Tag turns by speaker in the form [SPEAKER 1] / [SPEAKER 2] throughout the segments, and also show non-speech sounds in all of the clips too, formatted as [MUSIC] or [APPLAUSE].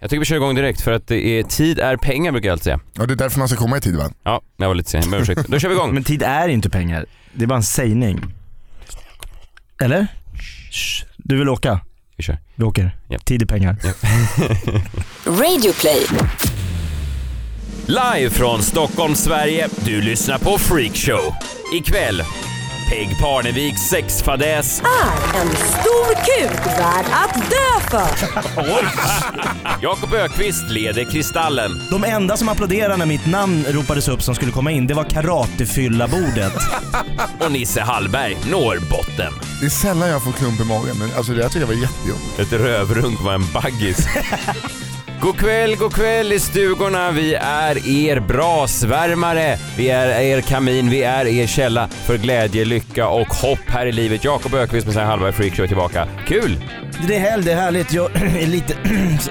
[SPEAKER 1] Jag tycker vi kör igång direkt för att det är, tid är pengar brukar jag alltid säga.
[SPEAKER 2] Ja, det är därför man ska komma i tid va?
[SPEAKER 1] Ja, jag var lite sen, jag ber om ursäkt. Då kör vi igång.
[SPEAKER 3] [LAUGHS] Men tid är inte pengar. Det är bara en sägning. Eller? Shh. Du vill åka?
[SPEAKER 1] Vi kör.
[SPEAKER 3] Vi åker.
[SPEAKER 1] Japp.
[SPEAKER 3] Tid är pengar.
[SPEAKER 4] Radio play.
[SPEAKER 1] Live från Stockholm, Sverige. Du lyssnar på Freakshow. Ikväll, Peg Parneviks sexfadäs.
[SPEAKER 4] Är en stor kuk värd att dö för.
[SPEAKER 1] [LAUGHS] Jakob Ökvist leder Kristallen.
[SPEAKER 3] De enda som applåderade när mitt namn ropades upp som skulle komma in, det var karatefylla-bordet.
[SPEAKER 1] Och Nisse Hallberg når botten.
[SPEAKER 2] Det är sällan jag får klump i magen, men alltså det där tycker jag var jättejobbigt.
[SPEAKER 1] Ett rövrunk var en baggis. God kväll, god kväll i stugorna. Vi är er brasvärmare. Vi är er kamin, vi är er källa för glädje, lycka och hopp här i livet. Jakob Ökvist med Sam Hallberg Freakshow är tillbaka. Kul!
[SPEAKER 3] Det är helg, det är härligt. Jag är lite... [CLEARS THROAT]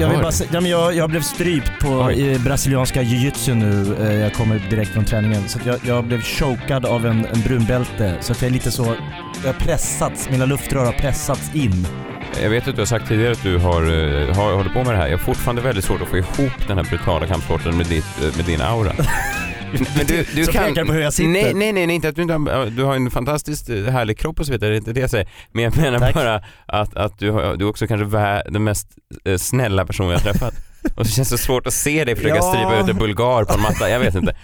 [SPEAKER 3] Jag, vill bara, sä- ja, men jag, jag blev strypt på
[SPEAKER 1] Oj.
[SPEAKER 3] eh, brasilianska jiu-jitsu nu. Eh, Jag kommer direkt från träningen. Så att jag, jag blev chokad av en, en brunbälte. Så att jag är lite så... Jag har pressats, mina luftrör har pressats in.
[SPEAKER 1] Jag vet att du har sagt tidigare att du har, eh, har, håller på med det här. Jag har fortfarande väldigt svårt att få ihop den här brutala kampsporten med, ditt, eh, med din
[SPEAKER 3] [LAUGHS]
[SPEAKER 1] aura. Men du, du
[SPEAKER 3] Som pekar på hur jag sitter.
[SPEAKER 1] Nej, nej, nej, nej inte att du inte har, du har en fantastiskt eh, härlig kropp och så vidare, det är inte det jag säger. Men jag menar
[SPEAKER 3] Tack.
[SPEAKER 1] bara att, att du, har, du är också kanske vä- den mest eh, snälla personen jag har träffat. och det känns så svårt att se dig försöka
[SPEAKER 3] Ja.
[SPEAKER 1] strypa ut en bulgar på en matta, jag vet inte.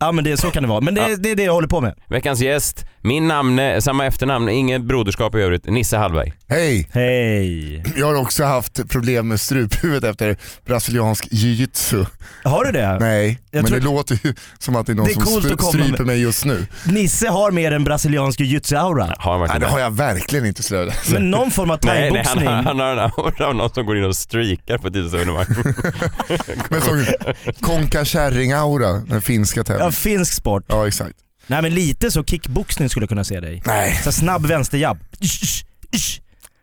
[SPEAKER 3] Ja men det, så kan det vara. Men det,
[SPEAKER 1] Ja.
[SPEAKER 3] det är det jag håller på med.
[SPEAKER 1] Veckans gäst, min namne, samma efternamn, inget broderskap i övrigt, Nisse Hallberg.
[SPEAKER 2] Hej!
[SPEAKER 3] Hej.
[SPEAKER 2] Jag har också haft problem med struphuvudet efter brasiliansk jiu-jitsu.
[SPEAKER 3] Har du det?
[SPEAKER 2] Nej,
[SPEAKER 3] Jag
[SPEAKER 2] men
[SPEAKER 3] tror-
[SPEAKER 2] det låter ju som att det är någon
[SPEAKER 3] Det är
[SPEAKER 2] som
[SPEAKER 3] coolt
[SPEAKER 2] stry-
[SPEAKER 3] att komma med.
[SPEAKER 2] stryper mig just nu.
[SPEAKER 3] Nisse har mer en brasiliansk jiu-jitsu-aura.
[SPEAKER 1] Har han
[SPEAKER 2] Nej,
[SPEAKER 1] verkligen
[SPEAKER 2] det
[SPEAKER 1] det?
[SPEAKER 2] har jag verkligen inte slöjat.
[SPEAKER 3] Men någon form av
[SPEAKER 1] Nej, nej han,
[SPEAKER 3] thaiboxning.
[SPEAKER 1] han har en aura av någon som går in och streakar på tidsevenemang.
[SPEAKER 2] [LAUGHS] Men som konka kärring-aura, den finska
[SPEAKER 3] Ja,
[SPEAKER 2] tävlingen.
[SPEAKER 3] finsk sport.
[SPEAKER 2] Ja, exakt.
[SPEAKER 3] Nej men lite så kickboxning skulle jag kunna se dig.
[SPEAKER 2] Nej.
[SPEAKER 3] Så snabb vänsterjabb.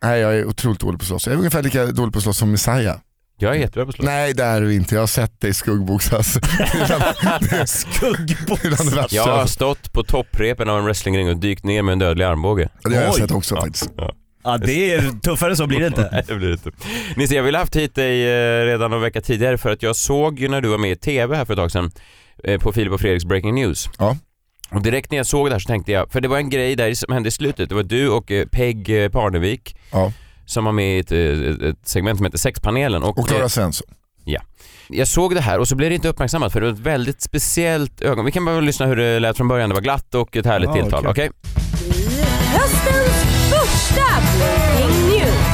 [SPEAKER 2] Nej, jag är otroligt dålig på att slåss. Jag är ungefär lika dålig på att slåss som Messiah.
[SPEAKER 1] [LAUGHS] Jag är jättebra på slåss.
[SPEAKER 2] Nej, det är du inte. Jag har sett dig skuggboxas. [LAUGHS] Bland det
[SPEAKER 3] Skuggboxning.
[SPEAKER 2] värsta.
[SPEAKER 1] Jag har stått på topprepen av en wrestlingring och dykt ner med en dödlig armbåge.
[SPEAKER 2] Ja, Det har jag
[SPEAKER 3] Oj.
[SPEAKER 2] sett också faktiskt.
[SPEAKER 3] Ja det är tuffare än så blir det inte.
[SPEAKER 1] [LAUGHS] Nej, det blir det inte. Nisse, jag ville haft hit dig eh, redan någon vecka tidigare för att jag såg ju när du var med i TV här för ett tag sedan eh, på Filip och Fredriks Breaking News.
[SPEAKER 2] Ja.
[SPEAKER 1] Och direkt när jag såg det här så tänkte jag, för det var en grej där som hände i slutet. Det var du och eh, Peg eh, Parnevik
[SPEAKER 2] Ja.
[SPEAKER 1] som var med i ett, eh, ett, ett segment som heter Sexpanelen. Och, eh,
[SPEAKER 2] Och Klara Svensson.
[SPEAKER 1] Jag såg det här och så blev det inte uppmärksammat för det var ett väldigt speciellt ögon. Vi kan bara lyssna hur det lät från början. Det var glatt och ett härligt
[SPEAKER 3] Ja,
[SPEAKER 1] tilltal.
[SPEAKER 3] okej.
[SPEAKER 1] Okej?
[SPEAKER 4] Höstens första Breaking News.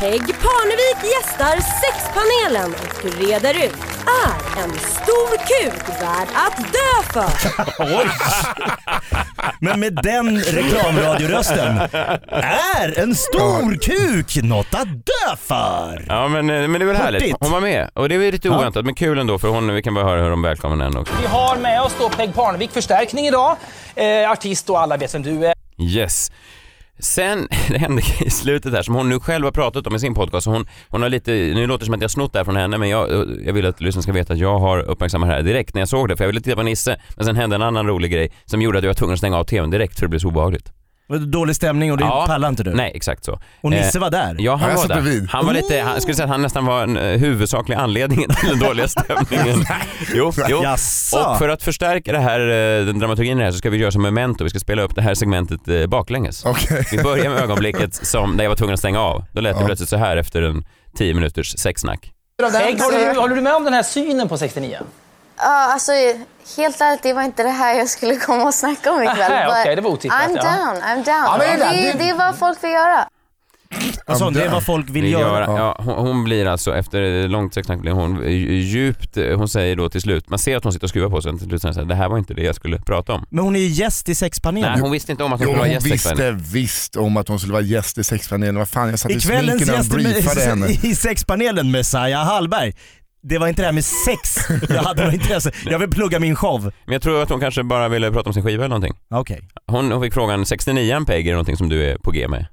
[SPEAKER 4] Peg Parnevik gästar sexpanelen och reder ut. Är en stor kuk värd att dö för.
[SPEAKER 3] Men med den reklamradiorösten är en stor kuk något att dö för.
[SPEAKER 1] Ja men, eh, men det är väl härligt.
[SPEAKER 3] Hurtigt.
[SPEAKER 1] Hon var med och det var ju lite
[SPEAKER 3] Ja.
[SPEAKER 1] oväntat men kul ändå för hon, vi kan bara höra hur de välkomnar henne också.
[SPEAKER 5] Vi har med oss då Peg Parnevik, förstärkning idag. Eh, artist och alla vet vem du är.
[SPEAKER 1] Yes. Sen, [LAUGHS] det hände i slutet här som hon nu själv har pratat om i sin podcast. Hon, hon har lite, nu låter det som att jag har snott det här från henne men jag, jag vill att lyssnarna ska veta att jag har uppmärksammat det här direkt när jag såg det för jag ville titta på Nisse men sen hände en annan rolig grej som gjorde att jag var tvungen att stänga av tvn direkt för det blev så obehagligt.
[SPEAKER 3] Dålig stämning och det
[SPEAKER 1] Ja.
[SPEAKER 3] pallar inte du.
[SPEAKER 1] Nej exakt så.
[SPEAKER 3] Och Nisse
[SPEAKER 1] Eh,
[SPEAKER 3] var där.
[SPEAKER 1] Ja, han
[SPEAKER 2] Ja,
[SPEAKER 1] var
[SPEAKER 2] jag satt
[SPEAKER 1] där.
[SPEAKER 2] bredvid.
[SPEAKER 1] Han var lite, han, skulle säga att han nästan var en eh, huvudsaklig anledning till den
[SPEAKER 2] [LAUGHS]
[SPEAKER 1] dåliga stämningen. jo, jo.
[SPEAKER 3] Jaså?
[SPEAKER 1] Och för att förstärka det här, eh, den dramaturgin i det här så ska vi göra som memento, vi ska spela upp det här segmentet eh, baklänges.
[SPEAKER 2] Okej.
[SPEAKER 1] Vi börjar med ögonblicket som, där jag var tvungen att stänga av. Då lät det
[SPEAKER 2] Ja.
[SPEAKER 1] plötsligt så här efter en 10 minuters sexsnack.
[SPEAKER 5] Peg, håller, du, håller du med om den här synen på 69?
[SPEAKER 6] Ja, alltså helt ärligt, det var inte det här jag skulle komma och snacka om ikväll.
[SPEAKER 5] Aha,
[SPEAKER 6] but
[SPEAKER 5] okej, det var otippat,
[SPEAKER 6] I'm
[SPEAKER 5] ja.
[SPEAKER 6] down, I'm down.
[SPEAKER 5] Ja, men det
[SPEAKER 6] det,
[SPEAKER 5] är det.
[SPEAKER 6] är- det är vad folk vill göra.
[SPEAKER 3] Alltså, det är vad folk vill göra.
[SPEAKER 1] Ja, hon, hon blir alltså, efter ett långt sexsnack blir hon eh, djupt, eh, hon säger då till slut, man ser att hon sitter och skruvar på sig, till slut säger hon så här, det här var inte det jag skulle prata om.
[SPEAKER 3] Men hon är ju gäst i sexpanelen.
[SPEAKER 1] Nej, hon visste inte om att hon
[SPEAKER 2] Jo,
[SPEAKER 1] skulle vara
[SPEAKER 2] hon
[SPEAKER 1] gäst ikväll.
[SPEAKER 2] visste visst om att hon skulle vara gäst i sexpanelen. Vad fan, jag satt
[SPEAKER 3] I
[SPEAKER 2] i sminken
[SPEAKER 3] kvällens
[SPEAKER 2] när han
[SPEAKER 3] gäst [LAUGHS]
[SPEAKER 2] briefade henne.
[SPEAKER 3] i, i sexpanelen Messiah Hallberg. Det var inte det här med sex jag hade något intresse. Jag vill plugga min show.
[SPEAKER 1] Men jag tror att hon kanske bara ville prata om sin skiva eller någonting.
[SPEAKER 3] Okej.
[SPEAKER 1] Hon, hon fick frågan 69 Peg, är det någonting som du är på G med?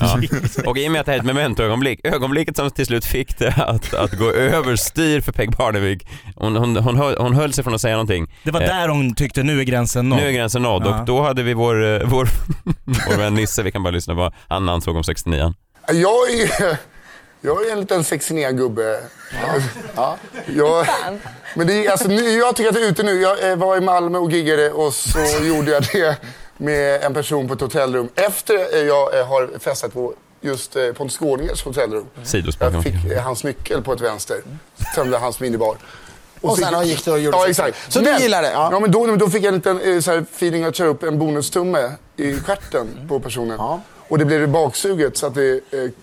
[SPEAKER 1] Ja. Och i och med att det här är ett mementoögonblick, ögonblicket som till slut fick det att, att gå överstyr för Peg Parnevik. Hon, hon, hon, höll, hon höll sig från att säga någonting.
[SPEAKER 3] Det var
[SPEAKER 1] Eh.
[SPEAKER 3] där hon tyckte nu är gränsen nådd.
[SPEAKER 1] Nu är gränsen nådd
[SPEAKER 3] Ja.
[SPEAKER 1] och då hade vi vår, eh, vår, [LAUGHS] vår vän Nisse, vi kan bara lyssna på vad han ansåg om 69
[SPEAKER 7] Jag är Jag är en liten sexig gubbe. Ja. Jag, men det, är- alltså, nu, jag tycker att det är ute nu. Jag eh, var i Malmö och giggade och [LAUGHS] så gjorde jag det med en person på ett hotellrum efter eh, jag eh, har festat på just eh, Pontus Gårdingers hotellrum.
[SPEAKER 1] Sidospår
[SPEAKER 7] Jag
[SPEAKER 1] kan man
[SPEAKER 7] fick
[SPEAKER 1] säga.
[SPEAKER 7] eh, hans nyckel på ett vänster. Tömde hans minibar.
[SPEAKER 8] Och
[SPEAKER 7] så
[SPEAKER 8] sen gick du och gjorde
[SPEAKER 7] Ja,
[SPEAKER 8] så.
[SPEAKER 7] exakt.
[SPEAKER 8] Så du gillar det, ja.
[SPEAKER 7] Ja. men då, då fick jag en liten eh, så här, feeling att köra upp en bonustumme i stjärten på personen.
[SPEAKER 8] Mm. Ja.
[SPEAKER 7] Och det blev det baksuget så att det... Eh,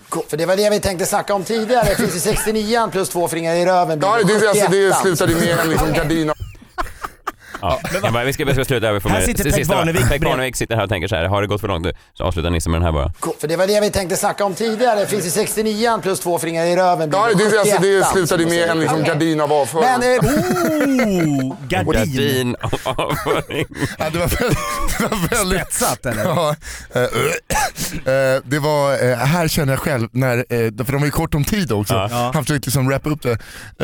[SPEAKER 7] kom.
[SPEAKER 8] För det var det vi tänkte snacka om tidigare. Det finns ju 69 plus två fingrar i röven.
[SPEAKER 7] Ja, det, det, alltså, det
[SPEAKER 8] 71.
[SPEAKER 7] slutade med en liksom, gardin.
[SPEAKER 1] Ja. Jag bara, vi ska, vi ska sluta över för
[SPEAKER 3] Här
[SPEAKER 1] mig.
[SPEAKER 3] sitter
[SPEAKER 1] Det
[SPEAKER 3] Peg
[SPEAKER 1] sista var-
[SPEAKER 3] Barnevik
[SPEAKER 1] Peg
[SPEAKER 3] bredvid.
[SPEAKER 1] Barnevik sitter här och tänker så här, har det gått för långt nu? Så avslutar Nisse med den här bara.
[SPEAKER 8] För det var det vi tänkte snacka om tidigare. Det finns ju 69 plus två fingrar i röven.
[SPEAKER 7] Ja, det, det, alltså,
[SPEAKER 8] 71.
[SPEAKER 7] det slutade med en liksom, gardin av avföring.
[SPEAKER 8] Men eh,
[SPEAKER 3] Oh, gardin!
[SPEAKER 1] Gardin [LAUGHS] av avföring.
[SPEAKER 2] Ja, det var väldigt... Det var väldigt
[SPEAKER 3] Spetsat eller?
[SPEAKER 2] Ja, eh, eh, det var, eh, här känner jag själv, när, eh, för de var ju kort om tid också, han försökte liksom wrappa upp det.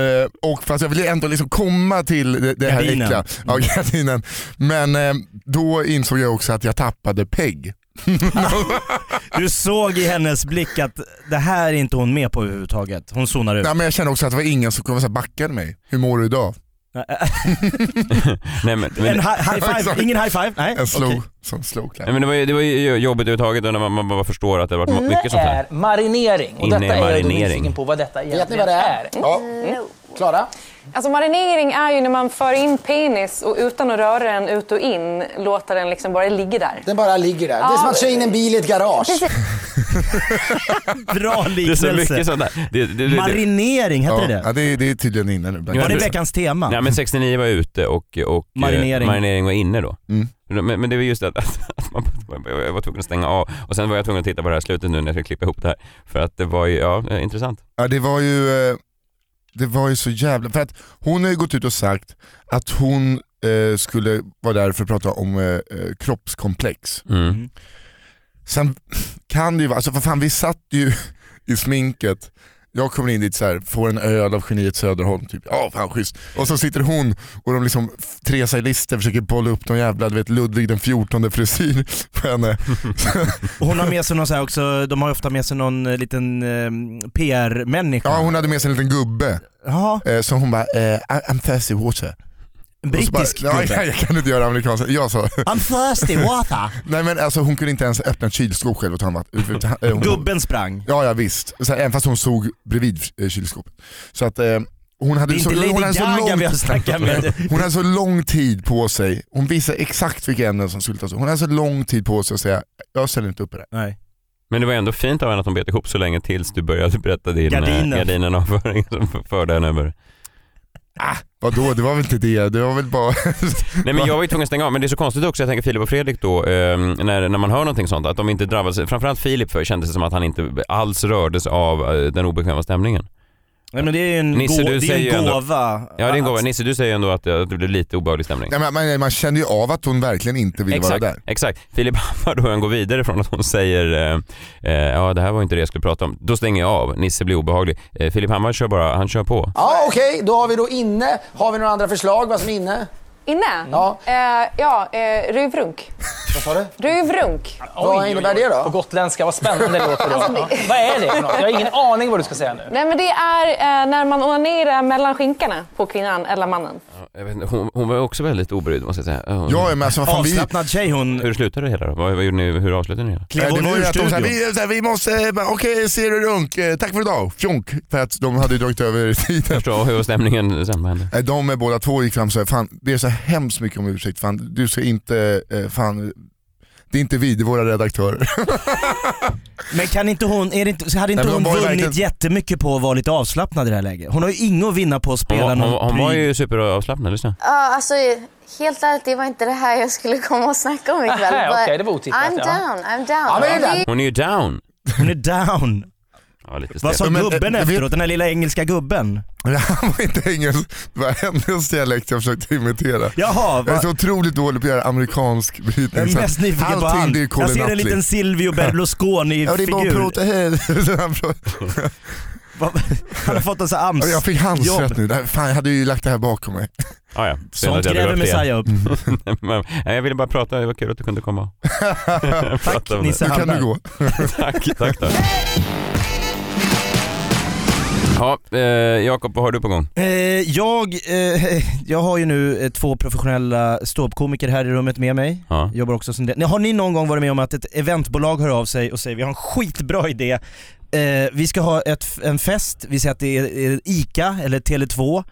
[SPEAKER 2] Eh, och fast jag ville ändå liksom komma till det, det här
[SPEAKER 3] Gardinen.
[SPEAKER 2] äckliga, ja, gardinen. Men eh, då insåg jag också att jag tappade Peg.
[SPEAKER 3] Du såg i hennes blick att det här är inte hon med på överhuvudtaget. Hon zonar ut.
[SPEAKER 2] Nej, men jag kände också att det var ingen som kunde så här, backade mig. Hur mår du idag?
[SPEAKER 1] Nej, men, men,
[SPEAKER 3] [LAUGHS] en hi- high five,
[SPEAKER 2] Exakt.
[SPEAKER 3] ingen high five. Nej.
[SPEAKER 1] Alltså.
[SPEAKER 2] En slow,
[SPEAKER 3] okej.
[SPEAKER 2] som slow clap.
[SPEAKER 1] nej, men det, var ju, det var ju jobbigt överhuvudtaget när man, man bara förstår att det har varit mycket sånt här.
[SPEAKER 5] är marinering. Och
[SPEAKER 1] Inne
[SPEAKER 5] detta
[SPEAKER 1] är
[SPEAKER 5] är jag då
[SPEAKER 1] marinering.
[SPEAKER 5] nyfiken på vad detta egentligen
[SPEAKER 8] vet ni vad det är?
[SPEAKER 7] Ja.
[SPEAKER 8] Klara?
[SPEAKER 9] Alltså marinering är ju när man för in penis och utan att röra den ut och in låter den liksom bara ligga där.
[SPEAKER 8] Den bara ligger där. Det är som att köra in en bil i ett garage.
[SPEAKER 3] Bra
[SPEAKER 1] Det är så
[SPEAKER 3] liknelse.
[SPEAKER 1] mycket sånt där. Det, det, det, det.
[SPEAKER 3] Marinering, hette
[SPEAKER 2] ja,
[SPEAKER 3] det
[SPEAKER 2] ja,
[SPEAKER 3] det?
[SPEAKER 2] det, är- det är tydligen inne nu.
[SPEAKER 1] Ja,
[SPEAKER 3] Var det
[SPEAKER 1] det-
[SPEAKER 3] veckans tema?
[SPEAKER 1] Nej men 69 var ute och, och eh,
[SPEAKER 3] Marinering. Mm.
[SPEAKER 1] marinering var inne då. Men, men det var just att, [LAUGHS] att, att man, jag var tvungen att stänga av och sen var jag tvungen att titta på det här slutet nu när jag ska klippa ihop det här. För att det var ju, ja eh, intressant.
[SPEAKER 2] Ja det var ju, eh, det var ju så jävla, för att hon har ju gått ut och sagt att hon eh, skulle vara där för att prata om eh, eh, kroppskomplex.
[SPEAKER 1] Mm.
[SPEAKER 2] Sen kan det ju vara, alltså för fan vi satt ju i sminket, jag kommer in dit så här, får en öl av geniet Söderholm, typ. ja fan schysst. Och så sitter hon och de liksom, f- tre stylister försöker bolla upp någon jävla du vet, Ludvig den 14 frisyr på henne.
[SPEAKER 3] Och hon har med sig någon så här också, de har ofta med sig någon eh, liten eh, PR-människa.
[SPEAKER 2] Ja hon hade med sig en liten gubbe,
[SPEAKER 3] Jaha,
[SPEAKER 2] eh, så hon bara eh, "I- I'm thirsty water.
[SPEAKER 3] en
[SPEAKER 2] Och så bara,
[SPEAKER 3] brittisk
[SPEAKER 2] "Nej,
[SPEAKER 3] gubbe.
[SPEAKER 2] Jag kan inte göra amerikanska, jag sa
[SPEAKER 3] I'm thirsty, water.
[SPEAKER 2] [LAUGHS] Nej men alltså hon kunde inte ens öppna ett kylskåp själv och ta en vatten. utan- eh, hon-
[SPEAKER 3] Gubben sprang.
[SPEAKER 2] Ja ja visst, så här, även fast hon såg bredvid eh, kylskåpet. Så att eh, hon hade,
[SPEAKER 3] Det är
[SPEAKER 2] så,
[SPEAKER 3] inte Lady
[SPEAKER 2] hon, hade så
[SPEAKER 3] Gaga
[SPEAKER 2] lång,
[SPEAKER 3] vi har snackat med.
[SPEAKER 2] hon hade så lång tid på sig, hon visade exakt vilka ämnen som skulle tas upp. Hon hade så lång tid på sig att säga jag ställer inte upp på det.
[SPEAKER 3] Nej.
[SPEAKER 1] Men det var ändå fint av henne att hon bet ihop så länge tills du började berätta din eh,
[SPEAKER 3] Gardinen.
[SPEAKER 1] gardinen avföring [LAUGHS] som förde henne över.
[SPEAKER 2] Ah, Vadå, det var väl inte det, det var väl bara... [LAUGHS]
[SPEAKER 1] Nej men jag var ju tvungen att stänga av, men det är så konstigt också, jag tänker Filip och Fredrik då, eh, när, när man hör någonting sånt, att de inte drabbas, framförallt Filip för, kändes det som att han inte alls rördes av eh, den obekväma stämningen.
[SPEAKER 3] Nej men det är ju en,
[SPEAKER 1] Nisse,
[SPEAKER 3] gå-
[SPEAKER 1] du
[SPEAKER 3] det är
[SPEAKER 1] säger
[SPEAKER 3] ju
[SPEAKER 1] ju
[SPEAKER 3] en
[SPEAKER 1] ändå-
[SPEAKER 3] gåva.
[SPEAKER 1] Ja det är en
[SPEAKER 3] Att-
[SPEAKER 1] gåva. Nisse du säger ju ändå att, eh, att det blev lite obehaglig stämning.
[SPEAKER 2] Nej, men, man, man kände ju av att hon verkligen inte ville
[SPEAKER 1] Exakt,
[SPEAKER 2] vara där.
[SPEAKER 1] exakt. Filip Hammar då, han går vidare från att hon säger eh, eh, ja det här var inte det jag skulle prata om. Då stänger jag av, Nisse blir obehaglig. Eh, Filip Hammar kör bara, han kör på.
[SPEAKER 8] Ja, okej. Då har vi då inne. Har vi några andra förslag vad som är inne?
[SPEAKER 9] Inne?
[SPEAKER 8] Ja.
[SPEAKER 9] Eh, ja, eh, ruvrunk.
[SPEAKER 8] Vad sa du?
[SPEAKER 9] Ruvrunk.
[SPEAKER 8] Vad innebär det då?
[SPEAKER 5] På gotländska, vad spännande det låter. Då. Ja. Vad är det för något? Jag har ingen aning vad du ska säga nu.
[SPEAKER 9] Nej men det är eh, när man onanerar mellan skinkorna på kvinnan eller mannen.
[SPEAKER 1] Jag vet, inte, hon, hon var också väldigt obrydd måste jag säga. Ja,
[SPEAKER 2] Ja men alltså vad fan vi...
[SPEAKER 3] Avslappnad tjej hon.
[SPEAKER 1] Hur slutade det hela då? Vad, vad gjorde ni, hur avslutade ni det? hela?
[SPEAKER 2] Nej,
[SPEAKER 3] Klev hon
[SPEAKER 2] det var
[SPEAKER 3] ur
[SPEAKER 2] ju att de sa
[SPEAKER 3] studion?
[SPEAKER 2] vi, så här, vi måste, eh, bara, okej ser du runk, eh, tack för idag, fjonk. För att de hade ju dragit över [LAUGHS] tiden.
[SPEAKER 1] Förstå hur stämningen sen vad hände?
[SPEAKER 2] Nej, De är båda två gick fram och sa, fan det är så hemskt mycket om ursäkt, fan du ska inte, eh, fan det är inte vi, det är våra redaktörer. [LAUGHS]
[SPEAKER 3] Men kan inte hon, är det inte, så hade inte
[SPEAKER 2] Nej, men
[SPEAKER 3] hon
[SPEAKER 2] hon var ju
[SPEAKER 3] vunnit
[SPEAKER 2] verkligen-
[SPEAKER 3] jättemycket på att vara lite avslappnad i det här läget? Hon har ju inget att vinna på att
[SPEAKER 1] Hon,
[SPEAKER 3] spela
[SPEAKER 1] var- hon,
[SPEAKER 3] någon
[SPEAKER 1] hon var
[SPEAKER 3] pryd.
[SPEAKER 1] ju superavslappnad, lyssna.
[SPEAKER 6] Ja, alltså helt ärligt, det var inte det här jag skulle komma och snacka om ikväll.
[SPEAKER 5] Aha,
[SPEAKER 6] but
[SPEAKER 5] okej, det var otippat,
[SPEAKER 6] I'm
[SPEAKER 5] ja.
[SPEAKER 6] down, I'm down.
[SPEAKER 8] Ja, men det är
[SPEAKER 1] Hon är ju down.
[SPEAKER 3] Hon är down.
[SPEAKER 1] Ja, lite
[SPEAKER 3] Vad sa
[SPEAKER 1] stelt.
[SPEAKER 2] Men, eh,
[SPEAKER 3] gubben
[SPEAKER 2] vi-
[SPEAKER 3] efteråt? Den här lilla engelska gubben?
[SPEAKER 2] Han var inte engelsk, det var hennes dialekt jag försökte imitera.
[SPEAKER 3] Jaha,
[SPEAKER 2] Jag är
[SPEAKER 3] va?
[SPEAKER 2] så otroligt dålig på att göra amerikansk
[SPEAKER 3] jag
[SPEAKER 2] brytning.
[SPEAKER 3] är
[SPEAKER 2] så
[SPEAKER 3] mest nyfiken på
[SPEAKER 2] allting
[SPEAKER 3] han.
[SPEAKER 2] det är
[SPEAKER 3] Jag
[SPEAKER 2] Colin
[SPEAKER 3] ser en
[SPEAKER 2] Nutley. [LAUGHS]
[SPEAKER 3] liten Silvio
[SPEAKER 2] Ja det är bara att
[SPEAKER 3] Berlusconi-figur.
[SPEAKER 2] prata här. [LAUGHS] Så han pratar-
[SPEAKER 3] Va- [LAUGHS] Han har fått en sån här
[SPEAKER 2] Ja,
[SPEAKER 3] AMS.
[SPEAKER 2] Jag fick handsvett
[SPEAKER 3] Jobb.
[SPEAKER 2] nu, Det här- fan jag hade ju lagt det här bakom mig.
[SPEAKER 1] Ah, ja. Synd
[SPEAKER 3] Sånt
[SPEAKER 1] att jag drog
[SPEAKER 3] gräver
[SPEAKER 1] upp det igen.
[SPEAKER 3] Messiah
[SPEAKER 1] [LAUGHS]
[SPEAKER 3] upp.
[SPEAKER 1] Men, nej, Jag ville bara prata, det var kul att du kunde
[SPEAKER 3] [LAUGHS]
[SPEAKER 1] komma. Prata om
[SPEAKER 3] Tack
[SPEAKER 1] det.
[SPEAKER 3] Nisse
[SPEAKER 2] Nu kan du
[SPEAKER 3] Hallberg.
[SPEAKER 2] gå.
[SPEAKER 1] Tack, tack då. Ja, eh, Jakob, vad har du på gång?
[SPEAKER 3] Eh, jag, eh, [LAUGHS] jag har ju nu eh, två professionella ståuppkomiker här i rummet med mig.
[SPEAKER 1] Ja.
[SPEAKER 3] Jobbar också som det. Har ni någon gång varit med om att ett eventbolag hör av sig och säger vi har en skitbra idé, eh, vi ska ha ett, en fest, vi säger att det är, är ICA eller Tele2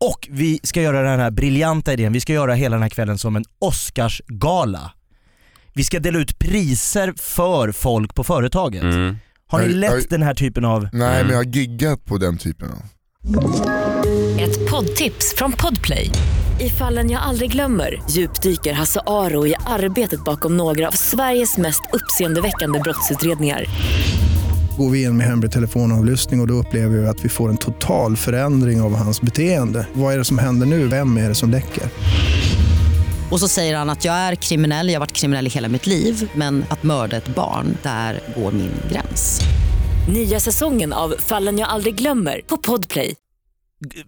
[SPEAKER 3] och vi ska göra den här briljanta idén, vi ska göra hela den här kvällen som en Oscarsgala. Vi ska dela ut priser för folk på företaget.
[SPEAKER 1] Mm.
[SPEAKER 3] Har ni
[SPEAKER 2] Aj,
[SPEAKER 3] lett
[SPEAKER 2] aj.
[SPEAKER 3] den här typen av...
[SPEAKER 2] Nej
[SPEAKER 1] Mm.
[SPEAKER 2] men jag har giggat på den typen av.
[SPEAKER 10] [LAUGHS] Ett poddtips från Podplay. I fallen jag aldrig glömmer djupdyker Hasse Aro i arbetet bakom några av Sveriges mest uppseendeväckande brottsutredningar.
[SPEAKER 11] Går vi in med hemlig telefonavlyssning och, och då upplever vi att vi får en total förändring av hans beteende. Vad är det som händer nu? Vem är det som läcker?
[SPEAKER 12] Och så säger han att jag är kriminell, jag har varit kriminell i hela mitt liv men att mörda ett barn, där går min gräns.
[SPEAKER 10] Nya säsongen av Fallen jag aldrig glömmer på Podplay.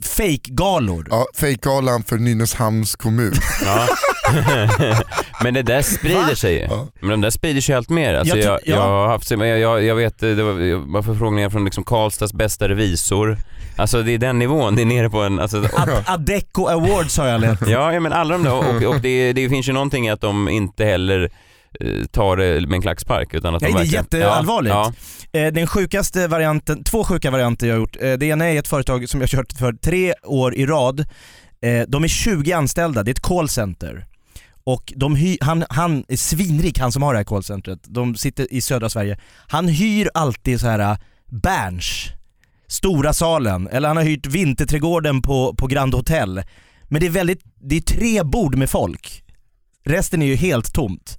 [SPEAKER 3] Fake-galor.
[SPEAKER 2] Ja, Fejkgalan för Nynäshamns kommun.
[SPEAKER 1] Ja. [LAUGHS] Men det där sprider sig ju.
[SPEAKER 2] Ja.
[SPEAKER 1] Men de där sprider sig allt mer. Alltså
[SPEAKER 3] Jag
[SPEAKER 1] jag,
[SPEAKER 3] tror-
[SPEAKER 1] jag,
[SPEAKER 3] ja.
[SPEAKER 1] har haft, men jag, jag, jag vet, det var, jag var förfrågningar från liksom Karlstads bästa revisor. Alltså det är den nivån, det är nere på en... Alltså,
[SPEAKER 3] Ad- Adecco Awards har jag
[SPEAKER 1] [LAUGHS]
[SPEAKER 3] lett.
[SPEAKER 1] ja, ja, men alla de där, och, och det, det finns ju någonting i att de inte heller eh, tar det med en klackspark. Utan att
[SPEAKER 3] Nej,
[SPEAKER 1] de
[SPEAKER 3] det är
[SPEAKER 1] verkligen-
[SPEAKER 3] jätteallvarligt.
[SPEAKER 1] Ja,
[SPEAKER 3] Eh, Den sjukaste varianten, två sjuka varianter jag har gjort. Eh, Det ena är ett företag som jag har kört för tre år i rad. Eh, De är 20 anställda, det är ett callcenter. Och de hy- han, han är svinrik, han som har det här callcentret. De sitter i södra Sverige. Han hyr alltid så här eh, Berns, stora salen, eller han har hyrt Vinterträdgården på, på Grand Hotel. Men det är väldigt, det är tre bord med folk. Resten är ju helt tomt.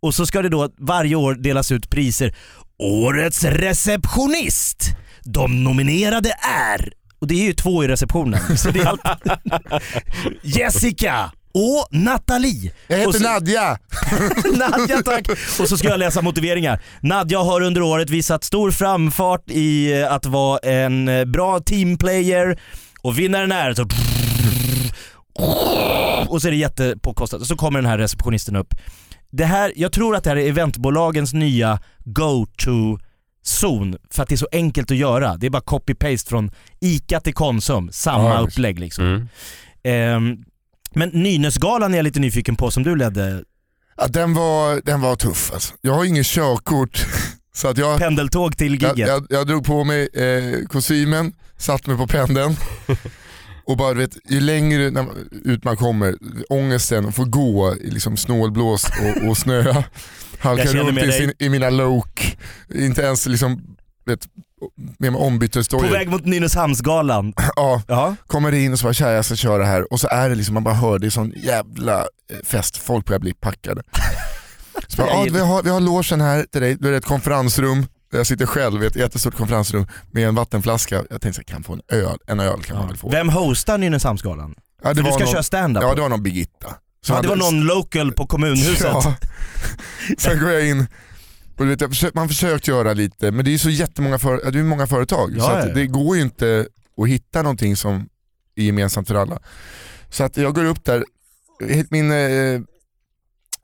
[SPEAKER 3] Och så ska det då varje år delas ut priser. Årets receptionist! De nominerade är... Och det är ju två i receptionen. Så det
[SPEAKER 2] [LAUGHS]
[SPEAKER 3] är allt... Jessica och Nathalie.
[SPEAKER 2] Jag
[SPEAKER 3] och
[SPEAKER 2] heter
[SPEAKER 3] så...
[SPEAKER 2] Nadja!
[SPEAKER 3] [LAUGHS] Nadja tack! Och så ska jag läsa motiveringar. Nadja har under året visat stor framfart i eh, att vara en eh, bra teamplayer och vinnaren är så och så är det jättepåkostat. Och så kommer den här receptionisten upp. Det här, jag tror att det här är eventbolagens nya go-to-zon för att det är så enkelt att göra. Det är bara copy-paste från ICA till Konsum, samma
[SPEAKER 2] Ja, visst.
[SPEAKER 3] upplägg liksom.
[SPEAKER 1] mm.
[SPEAKER 3] Ehm, men Nynäsgalan är jag lite nyfiken på som du ledde,
[SPEAKER 2] Ja, den, var, den var tuff alltså. Jag har ingen körkort [LAUGHS] så att jag,
[SPEAKER 3] pendeltåg till giget.
[SPEAKER 2] jag, jag, jag drog på mig eh, kostymen, satt mig på
[SPEAKER 3] [LAUGHS]
[SPEAKER 2] pendeln och bara du vet, ju längre när man, ut man kommer, ångesten att få gå i liksom snålblåst och, och
[SPEAKER 3] [LAUGHS]
[SPEAKER 2] snöa, halka
[SPEAKER 3] Jag känner
[SPEAKER 2] runt
[SPEAKER 3] med
[SPEAKER 2] i,
[SPEAKER 3] dig.
[SPEAKER 2] sin, i mina Loke, inte ens liksom vet, med mig
[SPEAKER 3] På
[SPEAKER 2] ombytesdojor.
[SPEAKER 3] väg mot Nynäshamnsgalan.
[SPEAKER 2] Ja,
[SPEAKER 3] Ja.
[SPEAKER 2] kommer in och så bara tja jag ska köra här och så är det liksom, man bara hör det är sån jävla eh, fest, folk börjar bli
[SPEAKER 3] [LAUGHS]
[SPEAKER 2] packade. Så bara, ja, vi, har, vi har logen här till dig, då är det ett konferensrum, jag sitter själv i ett jättestort konferensrum med en vattenflaska. Jag tänkte så här, kan jag få en öl, en öl kan man väl få.
[SPEAKER 3] Vem hostar Nynäshamnsgalan?
[SPEAKER 2] Ja,
[SPEAKER 3] Du
[SPEAKER 2] var
[SPEAKER 3] ska
[SPEAKER 2] någon,
[SPEAKER 3] köra stand-up?
[SPEAKER 2] Ja det var någon Birgitta. Som
[SPEAKER 3] Ja, det var
[SPEAKER 2] hade-
[SPEAKER 3] någon local på kommunhuset. [LAUGHS]
[SPEAKER 2] Ja. Sen går jag in och du vet, jag försö- man försökt göra lite men det är ju så jättemånga för, ja, det är många företag
[SPEAKER 3] Ja,
[SPEAKER 2] så
[SPEAKER 3] ja.
[SPEAKER 2] att det går ju inte att hitta någonting som är gemensamt för alla. Så att jag går upp där, min eh,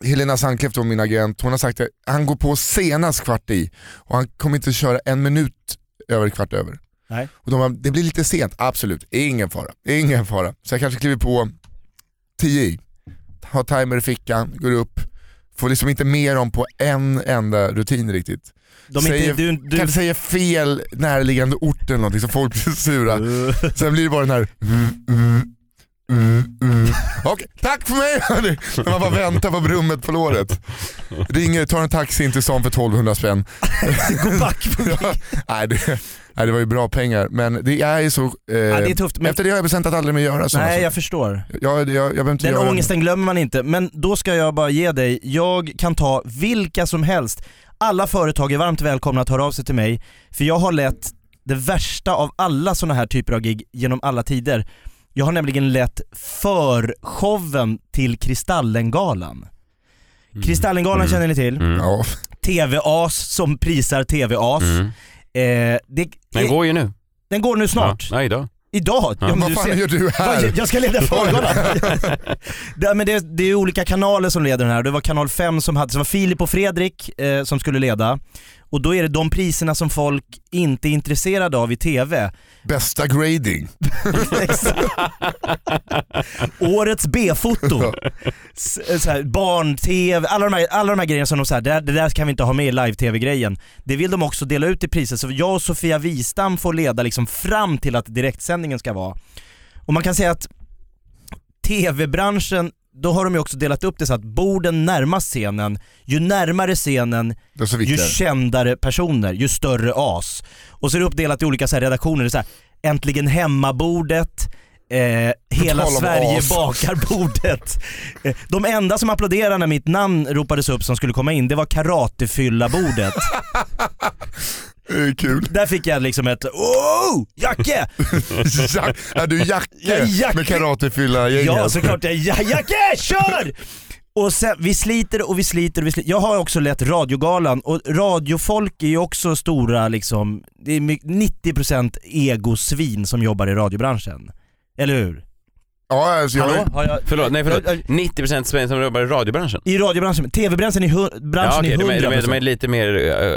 [SPEAKER 2] Helena Sandkleff, då, min agent, hon har sagt att han går på senast kvart i och han kommer inte köra en minut över kvart över.
[SPEAKER 3] Nej.
[SPEAKER 2] Och de bara, det blir lite sent, absolut, ingen fara, ingen fara. Så jag kanske kliver på 10 i, har timer i fickan, går upp, får liksom inte med dem på en enda rutin riktigt.
[SPEAKER 3] De är
[SPEAKER 2] Säger-
[SPEAKER 3] inte, du,
[SPEAKER 2] Du... Kan
[SPEAKER 3] du,
[SPEAKER 2] inte säga fel närliggande ort eller någonting så folk blir sura.
[SPEAKER 3] Mm.
[SPEAKER 2] Sen blir det bara den här mm, Okej, mm. tack för mig hörni! När man bara väntar på brummet på låret. Ringer, tar en taxi in till stan för 1200
[SPEAKER 3] [LAUGHS]
[SPEAKER 2] spänn.
[SPEAKER 3] gå back.
[SPEAKER 2] Ja, nej, det, nej det var ju bra pengar men det är ju så... Eh,
[SPEAKER 3] Ja, det är tufft. Men,
[SPEAKER 2] Efter det har jag bestämt att aldrig mer göra sådana
[SPEAKER 3] nej
[SPEAKER 2] saker.
[SPEAKER 3] jag förstår.
[SPEAKER 2] Jag, jag, jag behöver inte
[SPEAKER 3] Den
[SPEAKER 2] göra
[SPEAKER 3] ångesten glömmer man inte. Men då ska jag bara ge dig, jag kan ta vilka som helst. Alla företag är varmt välkomna att höra av sig till mig. För jag har lett det värsta av alla sådana här typer av gig genom alla tider. Jag har nämligen lett förshowen till Kristallengalan. Kristallengalan
[SPEAKER 1] Mm.
[SPEAKER 3] känner ni till.
[SPEAKER 1] Mm.
[SPEAKER 2] Ja,
[SPEAKER 3] TV-as som prisar TV-as.
[SPEAKER 1] Mm.
[SPEAKER 3] Eh, det,
[SPEAKER 1] Den går ju nu.
[SPEAKER 3] den går nu snart.
[SPEAKER 1] Ja, nej, idag.
[SPEAKER 3] Idag?
[SPEAKER 1] Ja.
[SPEAKER 3] men
[SPEAKER 2] vad
[SPEAKER 3] du
[SPEAKER 2] fan
[SPEAKER 3] ser-
[SPEAKER 2] gör du
[SPEAKER 3] Vad,
[SPEAKER 2] här?
[SPEAKER 3] Jag
[SPEAKER 2] [LAUGHS]
[SPEAKER 3] ska leda Förgalan. det, men det, det är olika kanaler som leder den här. Det var kanal 5 som hade, så det var Filip och Fredrik eh, som skulle leda. Och då är det de priserna som folk inte är intresserade av i TV.
[SPEAKER 2] Bästa grading.
[SPEAKER 3] Årets B-foto. S- eh, så här, Barn-TV, alla de, här, alla de här grejerna som de säger, det, där- det där kan vi inte ha med i live-TV-grejen. Det vill de också dela ut i priser, så jag och Sofia Wistam får leda liksom fram till att direktsändningen ska vara. Och man kan säga att TV-branschen, då har de ju också delat upp det så att borden närmast scenen, ju närmare scenen, ju
[SPEAKER 2] viktigare.
[SPEAKER 3] kändare personer, ju större as. Och så är det uppdelat i olika så här redaktioner, det är så här, äntligen hemmabordet, eh, hela
[SPEAKER 2] tal om
[SPEAKER 3] Sverige
[SPEAKER 2] as.
[SPEAKER 3] bakar-bordet. Eh, De enda som applåderade när mitt namn ropades upp som skulle komma in, det
[SPEAKER 2] [LAUGHS]
[SPEAKER 3] var karatefylla-bordet. [LAUGHS]
[SPEAKER 2] Kul. [LAUGHS]
[SPEAKER 3] Där fick jag liksom ett oh, Jacke!
[SPEAKER 2] Jack, är du Jacke,
[SPEAKER 3] Jag är Jacke.
[SPEAKER 2] med karatefylla-gänget?
[SPEAKER 3] Ja såklart, jag, ja, Jacke kör! Och sen, vi sliter och vi sliter och vi sliter. Jag har också lett radiogalan och radiofolk är ju också stora liksom, det är my- 90% egosvin som jobbar i radiobranschen. Eller hur?
[SPEAKER 2] Ja, alltså jag...
[SPEAKER 3] Hallå? Har jag...
[SPEAKER 1] Förlåt, nej förlåt. 90% svenskar som jobbar i radiobranschen.
[SPEAKER 3] I radiobranschen, TV-branschen är, hu- branschen
[SPEAKER 1] okej,
[SPEAKER 3] är 100%.
[SPEAKER 1] de, är, de, är, de är lite mer...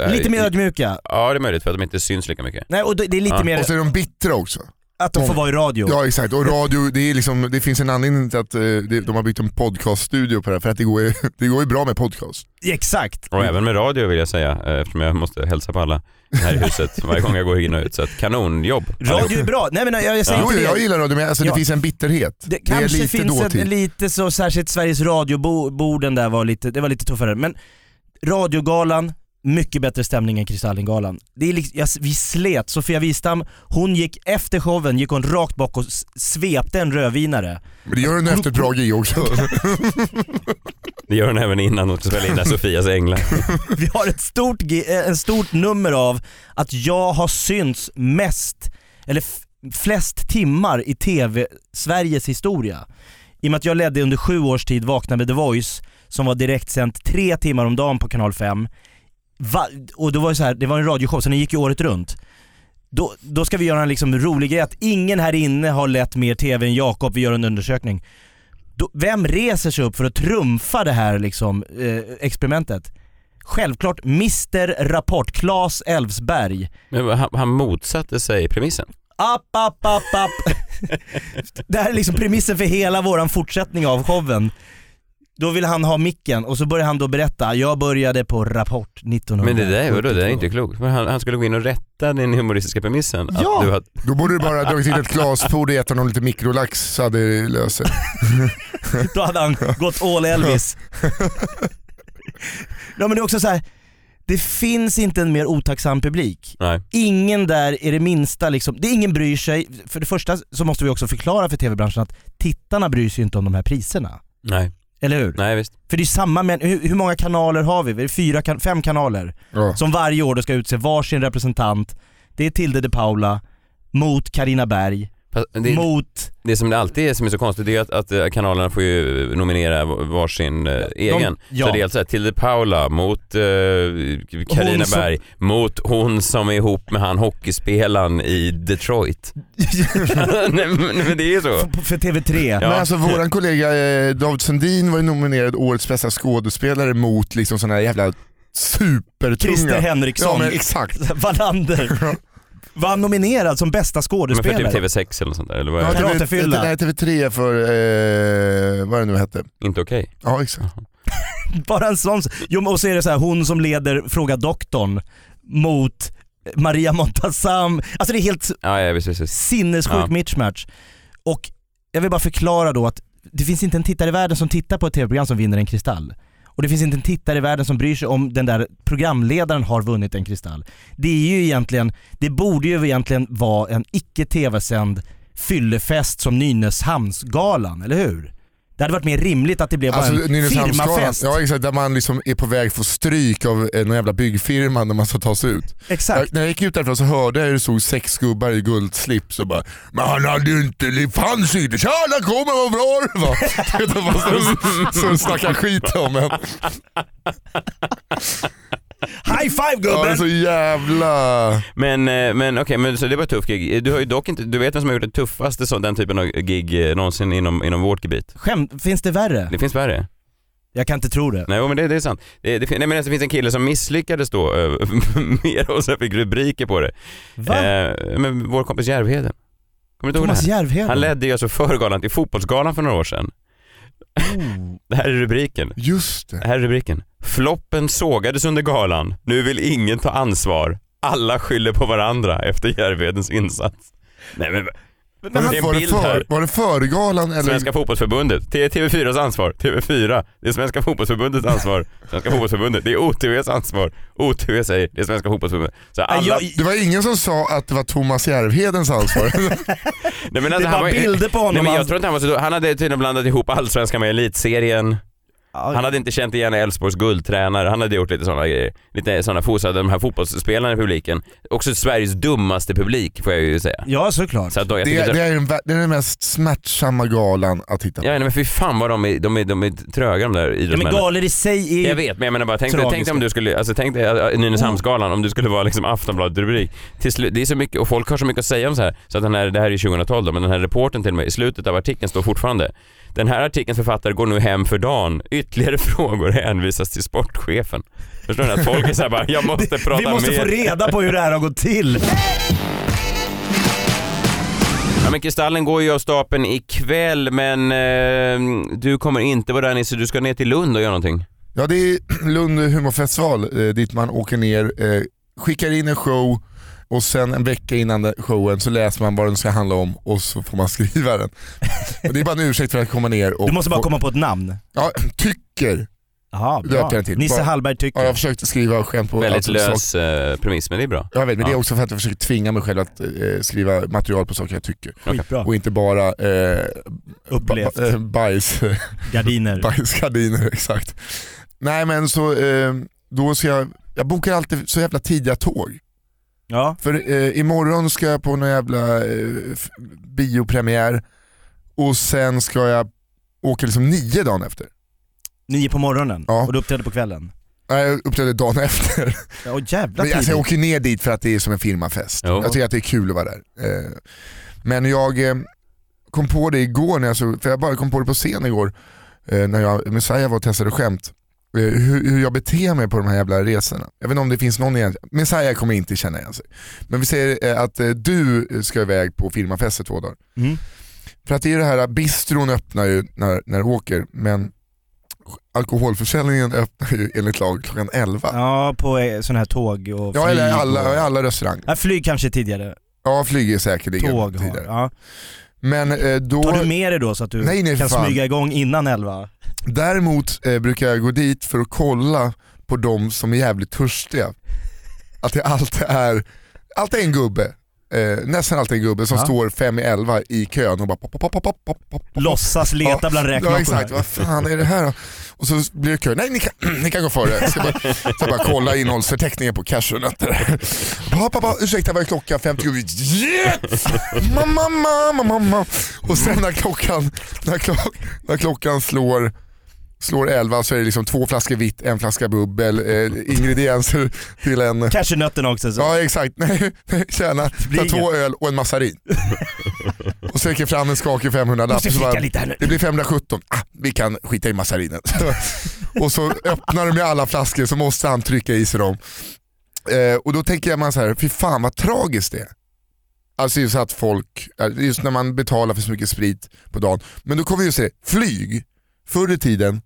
[SPEAKER 1] eh,
[SPEAKER 3] Lite mer
[SPEAKER 1] eh,
[SPEAKER 3] ödmjuka.
[SPEAKER 1] Ja, det är möjligt för att de inte syns lika mycket.
[SPEAKER 3] Nej, och det det är lite
[SPEAKER 1] Ja.
[SPEAKER 3] mer
[SPEAKER 2] Och så är de bittra också.
[SPEAKER 3] att de får vara i radio.
[SPEAKER 2] Ja exakt, och radio, det, är liksom, det finns en anledning till att eh, det- de har byggt en podcaststudio på det här, för att det går, ju- [LAUGHS] det går ju bra med podcast.
[SPEAKER 3] Exakt.
[SPEAKER 1] Och även med radio vill jag säga, eh, eftersom jag måste hälsa på alla här i
[SPEAKER 3] [LAUGHS]
[SPEAKER 1] huset varje gång jag går in och ut. Så att kanonjobb.
[SPEAKER 3] Radio är bra. Nej men jag, jag säger
[SPEAKER 2] Jo,
[SPEAKER 3] inte det.
[SPEAKER 2] jag gillar radio men alltså,
[SPEAKER 3] Ja.
[SPEAKER 2] det finns en bitterhet.
[SPEAKER 3] Det kanske
[SPEAKER 2] är lite
[SPEAKER 3] finns
[SPEAKER 2] dåtid.
[SPEAKER 3] en, lite så, särskilt Sveriges radioborden där var lite, det var lite tuffare. Men radiogalan, mycket bättre stämning än Kristallengalan. Det är liksom, jag, vi slet, Sofia Wistam, hon gick efter showen, gick hon rakt bak och s- svepte en rödvinare.
[SPEAKER 2] Men det gör den efter ett bra gig också. [LAUGHS]
[SPEAKER 1] Det gör den även innan hon ska spela in där Sofias änglar.
[SPEAKER 3] [LAUGHS] Vi har ett stort, gi- eh, en stort nummer av att jag har synts mest, eller f- flest timmar i TV-Sveriges historia. I och med att jag ledde under sju års tid Vakna med The Voice som var direktsänt tre timmar om dagen på kanal 5. Va- och det var ju så här, det var en radioshow så den gick ju året runt. Då, då ska vi göra en liksom rolig grej att ingen här inne har lett mer TV än Jakob, vi gör en undersökning. Då, vem reser sig upp för att trumfa det här liksom, eh, experimentet? Självklart Mr Rapport, Claes Elfsberg.
[SPEAKER 1] Men han, han motsatte sig premissen.
[SPEAKER 3] App, app, app, app. det här är liksom premissen för hela våran fortsättning av showen. Då vill han ha micken och så börjar han då berätta, jag började på Rapport 1900.
[SPEAKER 1] Men det där, vadå, det där är inte klokt. Men han, han skulle gå in och rätta den humoristiska premissen. Att
[SPEAKER 3] Ja!
[SPEAKER 1] du har,
[SPEAKER 2] Då borde du bara ha dragit in ett glasfoder och gett honom lite mikrolax så hade det löst sig.
[SPEAKER 3] [LAUGHS] Då hade han gått all Elvis. ja men det är också så här. det finns inte en mer otacksam publik.
[SPEAKER 1] nej.
[SPEAKER 3] Ingen där är det minsta liksom, det är ingen bryr sig. För det första så måste vi också förklara för tv-branschen att tittarna bryr sig inte om de här priserna.
[SPEAKER 1] Nej.
[SPEAKER 3] Eller hur?
[SPEAKER 1] Nej, visst.
[SPEAKER 3] För det är samma men hur, hur många kanaler har vi? Det är fyra, kan- fem kanaler
[SPEAKER 2] Ja.
[SPEAKER 3] som varje år då ska utse varsin representant. Det är Tilde de Paula mot Karina Berg,
[SPEAKER 1] Fast Det,
[SPEAKER 2] [LAUGHS]
[SPEAKER 3] mot...
[SPEAKER 1] det som det alltid är som är så konstigt det är ju att, att eh, kanalerna får ju nominera varsin eh, egen.
[SPEAKER 3] ja.
[SPEAKER 1] Så det är alltså här, Tilde Paula mot eh, Carina
[SPEAKER 3] Hon som-
[SPEAKER 1] Berg mot hon som är ihop med han hockeyspelaren i
[SPEAKER 3] [LAUGHS]
[SPEAKER 1] Detroit. [LAUGHS] nej, men, nej men det är ju så.
[SPEAKER 3] För, för TV3.
[SPEAKER 1] Ja.
[SPEAKER 2] Men alltså våran kollega eh, David Sundin var ju nominerad årets bästa skådespelare mot liksom sådana här jävla supertunga.
[SPEAKER 3] Christer Henriksson.
[SPEAKER 2] Ja men exakt.
[SPEAKER 3] [LAUGHS] Wallander. Var han nominerad som bästa
[SPEAKER 1] Men för typ
[SPEAKER 3] skådespelare?
[SPEAKER 1] TV6 eller något sånt där, eller vad
[SPEAKER 2] Ja,
[SPEAKER 1] är det?
[SPEAKER 2] TV,
[SPEAKER 3] Karatefylla.
[SPEAKER 2] nej, TV3 för, eh, vad det nu hette.
[SPEAKER 1] Inte okej.
[SPEAKER 2] Ja exakt.
[SPEAKER 3] Bara en sån. Jo, men och så är det så här, hon som leder Fråga doktorn mot Maria Montazam. Alltså det är helt
[SPEAKER 1] Ja, ja, visst, visst, visst.
[SPEAKER 3] sinnessjuk
[SPEAKER 1] Ja.
[SPEAKER 3] mismatch. Och jag vill bara förklara då att det finns inte en tittare i världen som tittar på ett tv-program som vinner en kristall. Och det finns inte en tittare i världen som bryr sig om den där programledaren har vunnit en kristall. Det är ju egentligen, det borde ju egentligen vara en icke tv-sänd fyllefest som Nynäshamnsgalan, eller hur? Det hade varit mer rimligt att det blev bara
[SPEAKER 2] Alltså,
[SPEAKER 3] en
[SPEAKER 2] Nynäshamnsgalan,
[SPEAKER 3] firmafest.
[SPEAKER 2] ja, exakt, där man liksom är på väg att få stryk av eh, någon jävla byggfirma när man ska ta sig ut.
[SPEAKER 3] Exakt.
[SPEAKER 2] Jag, när jag gick ut därifrån så hörde jag hur det stod sex gubbar i guldslips och bara “Men han hade ju inte, det fanns ju inte, tja där kommer vad bra [LAUGHS] det var!” Det var så- Så de snackade skit om en.
[SPEAKER 3] High
[SPEAKER 2] Ja,
[SPEAKER 3] five
[SPEAKER 2] det är
[SPEAKER 3] gubben!
[SPEAKER 2] så jävla...
[SPEAKER 1] Men, eh, men okej, men så det var ett tufft gig. Du har ju dock inte, du vet vem som har gjort det tuffaste så, den typen av gig eh, någonsin inom, inom vårt gebit?
[SPEAKER 3] Skämt, finns det värre?
[SPEAKER 1] Det finns värre.
[SPEAKER 3] Jag kan inte tro det.
[SPEAKER 1] Nej, men det, det är sant. Det, det, fin- nej, men alltså, det finns en kille som misslyckades då eh, [LAUGHS] mer och sen fick rubriker på det.
[SPEAKER 3] Va?
[SPEAKER 1] Eh, men vår kompis Järvheden. Kommer du inte ihåg
[SPEAKER 3] Thomas
[SPEAKER 1] det här?
[SPEAKER 3] Järvheden?
[SPEAKER 1] Han ledde ju alltså förgalan till Fotbollsgalan för några år sedan.
[SPEAKER 3] Oh.
[SPEAKER 1] [LAUGHS] Det här är rubriken.
[SPEAKER 2] Just det.
[SPEAKER 1] här är rubriken. Floppen sågades under galan. Nu vill ingen ta ansvar. Alla skyller på varandra efter Järvedens insats. Nej men,
[SPEAKER 2] Var
[SPEAKER 1] det
[SPEAKER 2] det,
[SPEAKER 1] är
[SPEAKER 2] var
[SPEAKER 1] en
[SPEAKER 2] det,
[SPEAKER 1] bild här.
[SPEAKER 2] för, var det förgalan eller?
[SPEAKER 1] Svenska fotbollsförbundet, det är TV4s ansvar. TV4, det är Svenska fotbollsförbundets ansvar. Svenska fotbollsförbundet, det är OTVs ansvar. OTV säger, det är Svenska fotbollsförbundet. Så alla...
[SPEAKER 2] Det var ingen som sa att det var Thomas Järvhedens ansvar.
[SPEAKER 1] Nej, men alltså
[SPEAKER 2] Det är
[SPEAKER 1] han
[SPEAKER 2] bara
[SPEAKER 1] var-
[SPEAKER 2] bilder på honom.
[SPEAKER 1] Nej, men jag
[SPEAKER 2] Han-
[SPEAKER 1] tror inte han, var så... han hade tydligen blandat ihop allsvenskan med elitserien. Han hade inte känt igen Elfsborgs guldtränare, han hade gjort lite sådana grejer. Lite sådana fosade de här fotbollsspelarna i publiken. Också Sveriges dummaste publik får jag ju säga.
[SPEAKER 3] Ja såklart.
[SPEAKER 1] Så att då, jag
[SPEAKER 2] Det,
[SPEAKER 1] tycker-
[SPEAKER 2] är- det, är den, vä- det är den mest smärtsamma galan att titta på.
[SPEAKER 1] Ja nej, men fy fan vad de är, de är, de är tröga de där idrottsmännen.
[SPEAKER 3] galor i sig är ju
[SPEAKER 1] Jag vet men jag menar bara tänk, dig- tänk dig
[SPEAKER 3] tragiska.
[SPEAKER 1] om du skulle, alltså tänk dig äh, Nynäshamnsgalan om du skulle vara liksom Aftonbladet rubrik. Till slut, det är så mycket, och folk har så mycket att säga om så här, så att den här, det här är 2012 då, men den här reporten till mig i slutet av artikeln står fortfarande. Den här artikelns författare går nu hem för dagen. Ytterligare [LAUGHS] frågor hänvisas till sportchefen. Förstår ni? Att folk är såhär bara,
[SPEAKER 3] [LAUGHS]
[SPEAKER 1] jag måste prata
[SPEAKER 3] Vi måste
[SPEAKER 1] mer.
[SPEAKER 3] få reda på hur det här har gått till.
[SPEAKER 1] Ja, men Kristallen går ju av stapeln ikväll men eh, du kommer inte vara där Nisse, du ska ner till Lund och göra någonting.
[SPEAKER 2] Ja det är Lund humorfestival eh, dit man åker ner, eh, skickar in en show och sen en vecka innan den- showen så läser man vad den ska handla om och så får man skriva den. Och det är bara en ursäkt för att komma ner. Och
[SPEAKER 3] Du måste bara
[SPEAKER 2] och-
[SPEAKER 3] komma på ett namn.
[SPEAKER 2] Ja, tycker.
[SPEAKER 3] Jaha,
[SPEAKER 2] döpte jag
[SPEAKER 3] bra.
[SPEAKER 2] den till.
[SPEAKER 3] Nisse
[SPEAKER 2] Bara-
[SPEAKER 3] Hallberg
[SPEAKER 2] Ja, jag
[SPEAKER 3] tycker.
[SPEAKER 2] försökte skriva skämt på
[SPEAKER 1] Väldigt
[SPEAKER 2] alltså,
[SPEAKER 1] lös
[SPEAKER 2] saker-
[SPEAKER 1] eh, premiss men det är bra.
[SPEAKER 2] Jag vet, men det är
[SPEAKER 1] Ja.
[SPEAKER 2] också för att jag försöker tvinga mig själv att eh, skriva material på saker jag tycker.
[SPEAKER 3] Skitbra.
[SPEAKER 2] Och inte bara eh,
[SPEAKER 3] Upplevt.
[SPEAKER 2] ba- eh, bajs.
[SPEAKER 3] Gardiner.
[SPEAKER 2] Bajsgardiner, [LAUGHS] exakt. Nej men så, eh, då ska jag, jag bokar alltid så jävla tidiga tåg.
[SPEAKER 3] Ja.
[SPEAKER 2] För eh, imorgon ska jag på någon jävla eh, f- biopremiär och sen ska jag åka liksom nio dagen efter.
[SPEAKER 3] Nio på morgonen
[SPEAKER 2] Ja.
[SPEAKER 3] och du uppträdde på kvällen.
[SPEAKER 2] Nej, jag uppträdde dagen [LAUGHS] efter.
[SPEAKER 3] Ja, och jävla
[SPEAKER 2] Men, alltså, jag
[SPEAKER 3] tidigt.
[SPEAKER 2] åker ner dit för att det är som en firmafest.
[SPEAKER 1] Jo.
[SPEAKER 2] Jag tycker att det är kul att vara där. Eh, Men jag eh, kom på det igår, när jag såg, för jag bara kom på det på scen igår, eh, när jag Messiah var och testade skämt. Eh, Hur, hur jag beter mig på de här jävla resorna. Jag vet inte om det finns någon egentligen, Messiah kommer inte känna igen sig. Men vi säger eh, att eh, du ska iväg på firmafest i två dagar.
[SPEAKER 3] Mm.
[SPEAKER 2] För att det är det här, bistron öppnar ju när, när du åker, men alkoholförsäljningen [LAUGHS] öppnar ju enligt lag klockan 11.
[SPEAKER 3] Ja, på eh, sådana här tåg och
[SPEAKER 2] Ja,
[SPEAKER 3] flyg
[SPEAKER 2] eller alla,
[SPEAKER 3] och...
[SPEAKER 2] alla restauranger.
[SPEAKER 3] Ja, flyg kanske tidigare.
[SPEAKER 2] Ja, flyg är säkerligen
[SPEAKER 3] Tåg har,
[SPEAKER 2] tidigare.
[SPEAKER 3] ja.
[SPEAKER 2] Men eh, då...
[SPEAKER 3] Tar du med dig då så att du
[SPEAKER 2] Nej, nej, för
[SPEAKER 3] kan
[SPEAKER 2] fan.
[SPEAKER 3] smyga igång innan elva?
[SPEAKER 2] Däremot eh, brukar jag gå dit för att kolla på de som är jävligt törstiga. Att det alltid är, alltid är en gubbe, eh, nästan alltid en gubbe som
[SPEAKER 3] Ja.
[SPEAKER 2] står fem i elva i kön och bara pop, pop, pop, pop, pop, pop, pop, pop.
[SPEAKER 3] Låtsas leta
[SPEAKER 2] Ja,
[SPEAKER 3] bland räkmackorna.
[SPEAKER 2] Ja exakt, vad fan är det här då? Och så blir det kö, nej ni kan, [CLEARS THROAT] ni kan gå före. Så jag bara, så jag bara kolla innehållsförteckningen på [LAUGHS] cashewnötter. Ba, ba, ba, ursäkta vad är klockan? 50 gubbar. Yes! Mamma, mamma, mamma. Och sen när klockan, när klock, när klockan slår Slår 11 så är det liksom två flaskor vitt, en flaska bubbel, eh, ingredienser till en...
[SPEAKER 3] Cashewnötterna också. Så.
[SPEAKER 2] Ja exakt, [LAUGHS] nej, nej gärna.
[SPEAKER 3] blir
[SPEAKER 2] Ta två
[SPEAKER 3] inget.
[SPEAKER 2] öl och en massarin. och sträcker fram en skakig 500-lapp.
[SPEAKER 3] Måste
[SPEAKER 2] så
[SPEAKER 3] fika
[SPEAKER 2] bara,
[SPEAKER 3] lite här nu.
[SPEAKER 2] Det blir 517, ah, vi kan skita i massarinen. [LAUGHS] och så öppnar de med alla flaskor så måste han trycka i sig dem. Eh, och då tänker jag man så här, fy fan vad tragiskt det är. Alltså just att folk, eh, just när man betalar för så mycket sprit på dagen. Men då kommer vi ju se, flyg, förr i tiden,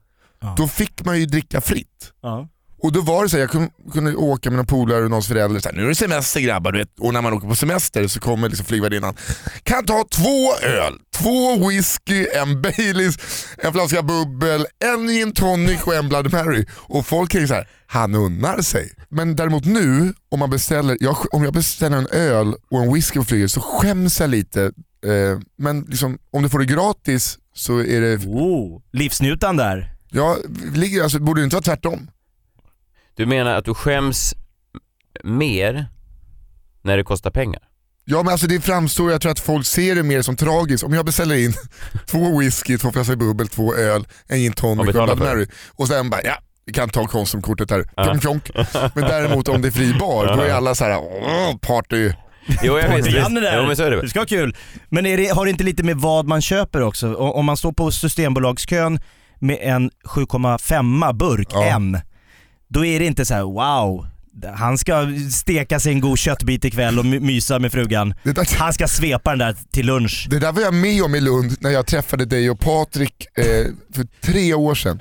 [SPEAKER 2] då fick man ju dricka fritt.
[SPEAKER 3] Ja.
[SPEAKER 2] Och då var det så här, jag kun- kunde åka med någon polare och någons förälder, så här, nu är det semester grabbar, du vet. och när man åker på semester så kommer liksom flygvärdinnan, kan ta två öl, två whisky, en Baileys, en flaska bubbel, en gin tonic och en Bloody Mary. Och folk är ju så här, han unnar sig. Men däremot nu, om, man beställer, jag, sk- om jag beställer en öl och en whisky på flyget så skäms jag lite. Eh, men liksom, om du får det gratis så är det...
[SPEAKER 3] Oh, livsnjutan där.
[SPEAKER 2] Ja, ligger, alltså, borde det inte vara tvärtom?
[SPEAKER 1] Du menar att du skäms mer när det kostar [LAUGHS] pengar?
[SPEAKER 2] Ja men alltså det framstår, jag tror att folk ser det mer som tragiskt. Om jag beställer in [LAUGHS] två whisky, två flaskor bubbel, två öl, en gin
[SPEAKER 1] Och
[SPEAKER 2] tonic och en
[SPEAKER 1] betalar
[SPEAKER 2] Bloody
[SPEAKER 1] för det.
[SPEAKER 2] Mary. Och sen bara ja, vi kan ta Konsumkortet här.
[SPEAKER 1] Ja.
[SPEAKER 2] Pjonk, pjonk. Men däremot om det är fri bar, då är alla så här åh, party.
[SPEAKER 1] Jo, jag visst, visst.
[SPEAKER 3] Janne där.
[SPEAKER 1] Jo, men så är det väl.
[SPEAKER 3] ska ha kul. Men är det, har det inte lite med vad man köper också? O- Om man står på Systembolagskön med en 7,5 burk M, då är det inte så här: wow, han ska steka sig en god köttbit ikväll och my- mysa med frugan. Han ska svepa den där till lunch.
[SPEAKER 2] Det där var jag med om i Lund när jag träffade dig och Patrik eh, för tre år sedan.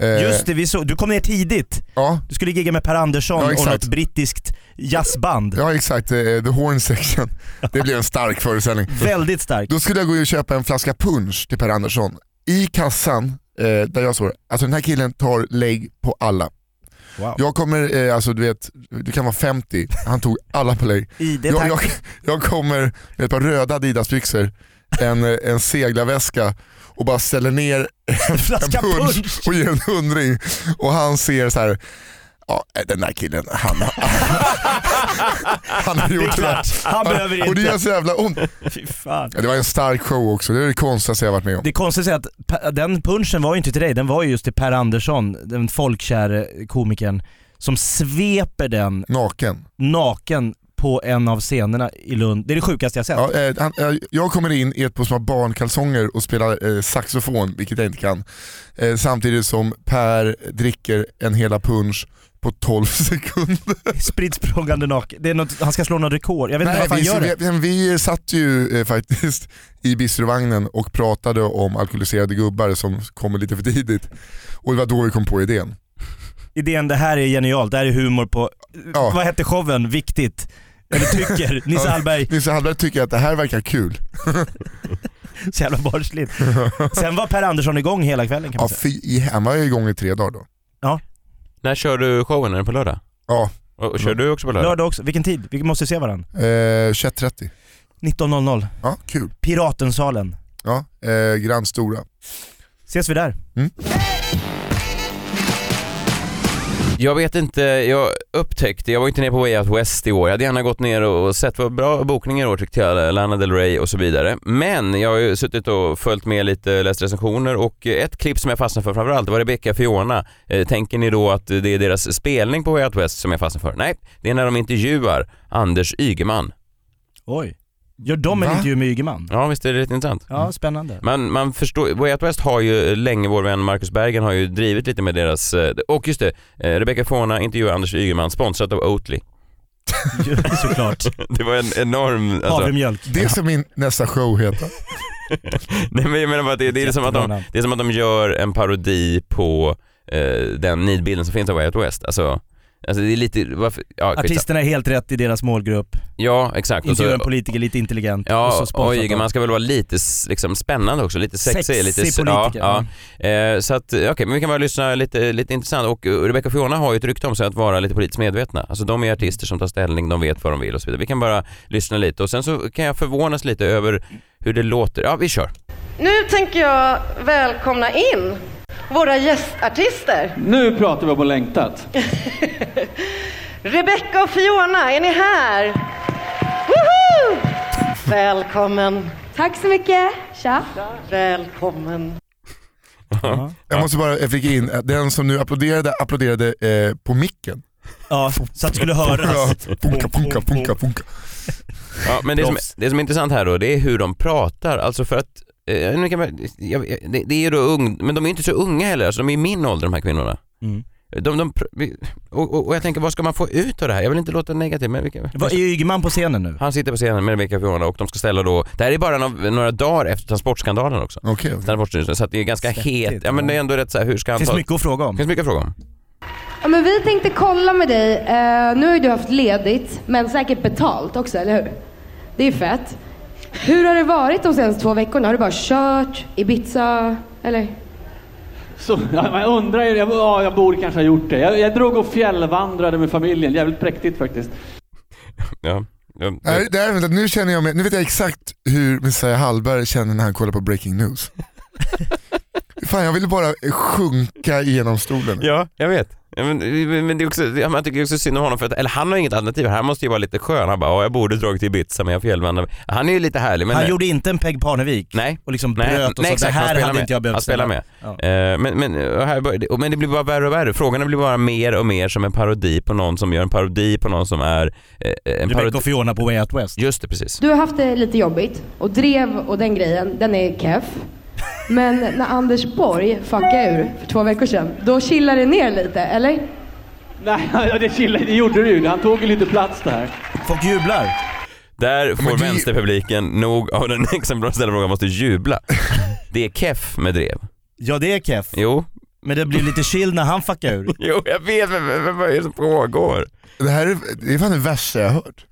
[SPEAKER 2] Eh,
[SPEAKER 3] Just det, vi såg, du kom ner tidigt. Du skulle gigga med Per Andersson
[SPEAKER 2] Ja,
[SPEAKER 3] och
[SPEAKER 2] exakt.
[SPEAKER 3] något brittiskt jazzband.
[SPEAKER 2] Ja exakt, eh, The Horn Section. Det blev en stark föreställning.
[SPEAKER 3] Väldigt stark.
[SPEAKER 2] Då skulle jag gå och köpa en flaska punch till Per Andersson. I kassan, eh, där jag står, alltså den här killen tar lägg på alla.
[SPEAKER 3] Wow.
[SPEAKER 2] Jag kommer, eh, alltså du vet, du kan vara 50, han tog alla på lägg.
[SPEAKER 3] I det
[SPEAKER 2] jag,
[SPEAKER 3] tack.
[SPEAKER 2] jag, jag kommer med ett par röda Adidas-byxor, en, eh, en seglarväska och bara ställer ner en,
[SPEAKER 3] [LAUGHS] flaska
[SPEAKER 2] punch, och ger en hundring. Och han ser så här. Ja, eh, den där killen, han, [LAUGHS] han har
[SPEAKER 3] Det är
[SPEAKER 2] gjort det där.
[SPEAKER 3] klart. Han behöver
[SPEAKER 2] Och det
[SPEAKER 3] inte.
[SPEAKER 2] gör så jävla ont.
[SPEAKER 3] Fy fan.
[SPEAKER 2] Ja, Det var en stark show också, det är det konstigaste jag varit med om.
[SPEAKER 3] Det konstiga är att Pa- den punchen var ju inte till dig, den var ju just till Per Andersson, den folkkäre komikern, som sveper den
[SPEAKER 2] naken,
[SPEAKER 3] på en av scenerna i Lund. Det är det sjukaste jag sett.
[SPEAKER 2] Ja, eh, han, eh, jag kommer in i ett par små barnkalsonger och spelar eh, saxofon, vilket jag inte kan. Eh, samtidigt som Per dricker en hela punch på 12 [LAUGHS] sekunder.
[SPEAKER 3] Spritt språngande naken. Det är något, han ska slå något rekord. Jag vet inte varför han
[SPEAKER 2] vi,
[SPEAKER 3] gör det.
[SPEAKER 2] vi, vi, vi satt ju eh, faktiskt i Bistervagnen och pratade om alkoholiserade gubbar som kommer lite för tidigt. Och det var då vi kom på idén.
[SPEAKER 3] Idén, det här är genialt, det här är humor på...
[SPEAKER 2] Ja.
[SPEAKER 3] Vad hette showen? Viktigt. Eller [LAUGHS] tycker. Nisse
[SPEAKER 2] Ja,
[SPEAKER 3] Hallberg.
[SPEAKER 2] Nisse Hallberg tycker att det här verkar kul.
[SPEAKER 3] Så jävla barnsligt. Sen var Per Andersson igång hela kvällen kan
[SPEAKER 2] Ja,
[SPEAKER 3] man säga.
[SPEAKER 2] fy, i- han var ju igång i tre dagar då.
[SPEAKER 1] När kör du showen? Är det på lördag?
[SPEAKER 2] Ja.
[SPEAKER 1] Och, och kör du också på lördag?
[SPEAKER 3] Lördag också. Vilken tid? Vi måste se varandra.
[SPEAKER 2] Eh, 21.30.
[SPEAKER 3] 19.00.
[SPEAKER 2] Ja, kul.
[SPEAKER 3] Piratensalen.
[SPEAKER 2] Ja, eh, Grand Stora.
[SPEAKER 3] Ses vi där?
[SPEAKER 1] Jag vet inte, jag upptäckte, jag var inte nere på Way Out West i år. Jag hade gärna gått ner och sett vad bra bokningar i år tyckte jag, Lana Del Rey och så vidare. Men jag har ju suttit och följt med lite, läst recensioner och ett klipp som jag fastnade för framförallt var Rebecca Fiona. Eh, Tänker ni då att det är deras spelning på Way Out West som jag fastnade för? Nej, det är när de intervjuar Anders Ygeman.
[SPEAKER 3] Oj. Gör de en
[SPEAKER 1] Va?
[SPEAKER 3] intervju med Ygeman?
[SPEAKER 1] Ja, visst är det lite intressant?
[SPEAKER 3] Ja, [LAUGHS] spännande.
[SPEAKER 1] Man, man förstår, Way Out West har ju länge, vår vän Marcus Bergen har ju drivit lite med deras, eh, och just det, eh, Rebecca Fona intervjuar Anders Ygeman, sponsrat av Oatly. [LAUGHS]
[SPEAKER 3] Såklart.
[SPEAKER 1] Det var en enorm... alltså,
[SPEAKER 3] Havremjölk.
[SPEAKER 2] Det ska min nästa show heta.
[SPEAKER 1] [LAUGHS] Nej men jag menar bara att det, det, är som att
[SPEAKER 3] Jättebra
[SPEAKER 1] de,
[SPEAKER 3] namn.
[SPEAKER 1] det är som att de gör en parodi på eh, den nidbilden som finns av Way Out West. Alltså, alltså det är lite, varför, ja, skitsa-
[SPEAKER 3] Artisterna är helt rätt i deras målgrupp.
[SPEAKER 1] Ja exakt. Och så-
[SPEAKER 3] Intervjua en politiker lite intelligent. och
[SPEAKER 1] Alltså, Ja,
[SPEAKER 3] så
[SPEAKER 1] och
[SPEAKER 3] sponsrat av-
[SPEAKER 1] Ygeman ska väl vara lite s- liksom, spännande också, lite sexig.
[SPEAKER 3] Sexig
[SPEAKER 1] lite, s-
[SPEAKER 3] politiker,
[SPEAKER 1] Ja, ja. Eh, så att, okej, men vi kan bara lyssna lite, lite intressant. Och eh, Rebecca och Fiona har ju ett rykte om sig att vara lite politiskt medvetna. Alltså de är artister som tar ställning, de vet vad de vill och så vidare. Vi kan bara lyssna lite och sen så kan jag förvånas lite över hur det låter. Ja, vi kör.
[SPEAKER 13] Nu tänker jag välkomna in våra gästartister.
[SPEAKER 14] Nu pratar vi om att längtat.
[SPEAKER 13] [LAUGHS] Rebecca och Fiona, är ni här? Woho! Välkommen. Tack så mycket. Tja. Välkommen.
[SPEAKER 2] Jag måste bara eh, flika in, att den som nu applåderade, applåderade eh, på micken.
[SPEAKER 3] Ja, så att det skulle
[SPEAKER 2] Ja,
[SPEAKER 1] [LAUGHS]
[SPEAKER 3] höras.
[SPEAKER 2] Funka, funka, funka, funka.
[SPEAKER 1] Ja, men det som,
[SPEAKER 2] Proffs.
[SPEAKER 1] det som är intressant här då, det är hur de pratar. Alltså för att, eh, nu kan man, jag, jag- det, det är ju då ung, men de är inte så unga heller, alltså de är i min ålder de här kvinnorna.
[SPEAKER 3] Mm.
[SPEAKER 1] De, de, pr- vi- och, och, och jag tänker, vad ska man få ut av det här? Jag vill inte låta negativ, men vi kan,
[SPEAKER 3] Vad är Ygeman på scenen nu?
[SPEAKER 1] Han sitter på scenen med Rebecca Fiona och de ska ställa då, det här är bara no- några dagar efter transportskandalen också.
[SPEAKER 2] Okej.
[SPEAKER 1] Transportstyrelsen, så att det är ganska
[SPEAKER 3] Svettigt,
[SPEAKER 1] het, ja men det är ändå rätt så här, hur ska han
[SPEAKER 3] Finns
[SPEAKER 1] ta...
[SPEAKER 3] mycket att fråga om.
[SPEAKER 1] Finns mycket att fråga om.
[SPEAKER 15] Ja, men vi tänkte kolla med dig. Eh, nu har ju du haft ledigt, men säkert betalt också, eller hur? Det är ju fett. Hur har det varit de senaste två veckorna? Har du bara kört Ibiza, eller?
[SPEAKER 14] Så, ja, jag undrar, ju- jag, ja, jag borde kanske ha gjort det. Jag, jag drog och fjällvandrade med familjen, jävligt präktigt faktiskt.
[SPEAKER 1] Ja.
[SPEAKER 2] Det här, det här, vänta, nu känner jag mig, nu vet jag exakt hur Messiah Hallberg känner när han kollar på Breaking News. [LAUGHS] Fan jag ville bara sjunka genom stolen.
[SPEAKER 1] Ja, jag vet. Ja, men, men det är också, ja, men jag tycker också synd om honom för att, eller han har inget alternativ, han måste ju vara lite skön. Han bara, "Ja, jag borde dragit till Ibiza men jag fjällvandrade. Han är ju lite härlig men...
[SPEAKER 3] han gjorde inte en Peg Parnevik
[SPEAKER 1] Nej.
[SPEAKER 3] och liksom bröt och sa
[SPEAKER 1] han
[SPEAKER 3] det här
[SPEAKER 1] spelar
[SPEAKER 3] hade
[SPEAKER 1] med.
[SPEAKER 3] inte jag behövt
[SPEAKER 1] Han spelar
[SPEAKER 3] ställa."
[SPEAKER 1] med. Eh, men, men, och här, bör- och- men det blir bara värre och värre. Frågorna blir bara mer och mer som en parodi på någon som gör en parodi på någon som är... eh, en
[SPEAKER 3] Rebecca och Fiona på Way Out West.
[SPEAKER 1] Just det, precis.
[SPEAKER 15] Du har haft det lite jobbigt och drev och den grejen, den är keff. Men när Anders Borg fuckade ur för två veckor sedan, då chillade det ner lite, eller?
[SPEAKER 14] Nej, ja, det, chillade, det gjorde du ju. Han tog ju lite plats där.
[SPEAKER 3] Folk jublar.
[SPEAKER 1] Där får vänsterpubliken nog av den [LAUGHS] exemplariska ställa frågan måste
[SPEAKER 3] [LAUGHS]
[SPEAKER 1] jubla. Det är keff med drev.
[SPEAKER 3] Ja det är keff.
[SPEAKER 1] Jo.
[SPEAKER 3] Men det blir lite chill när han fuckar ur.
[SPEAKER 1] Jo, jag vet men, men, men vad är det som pågår?
[SPEAKER 2] Det här är, det är fan det värsta jag har hört.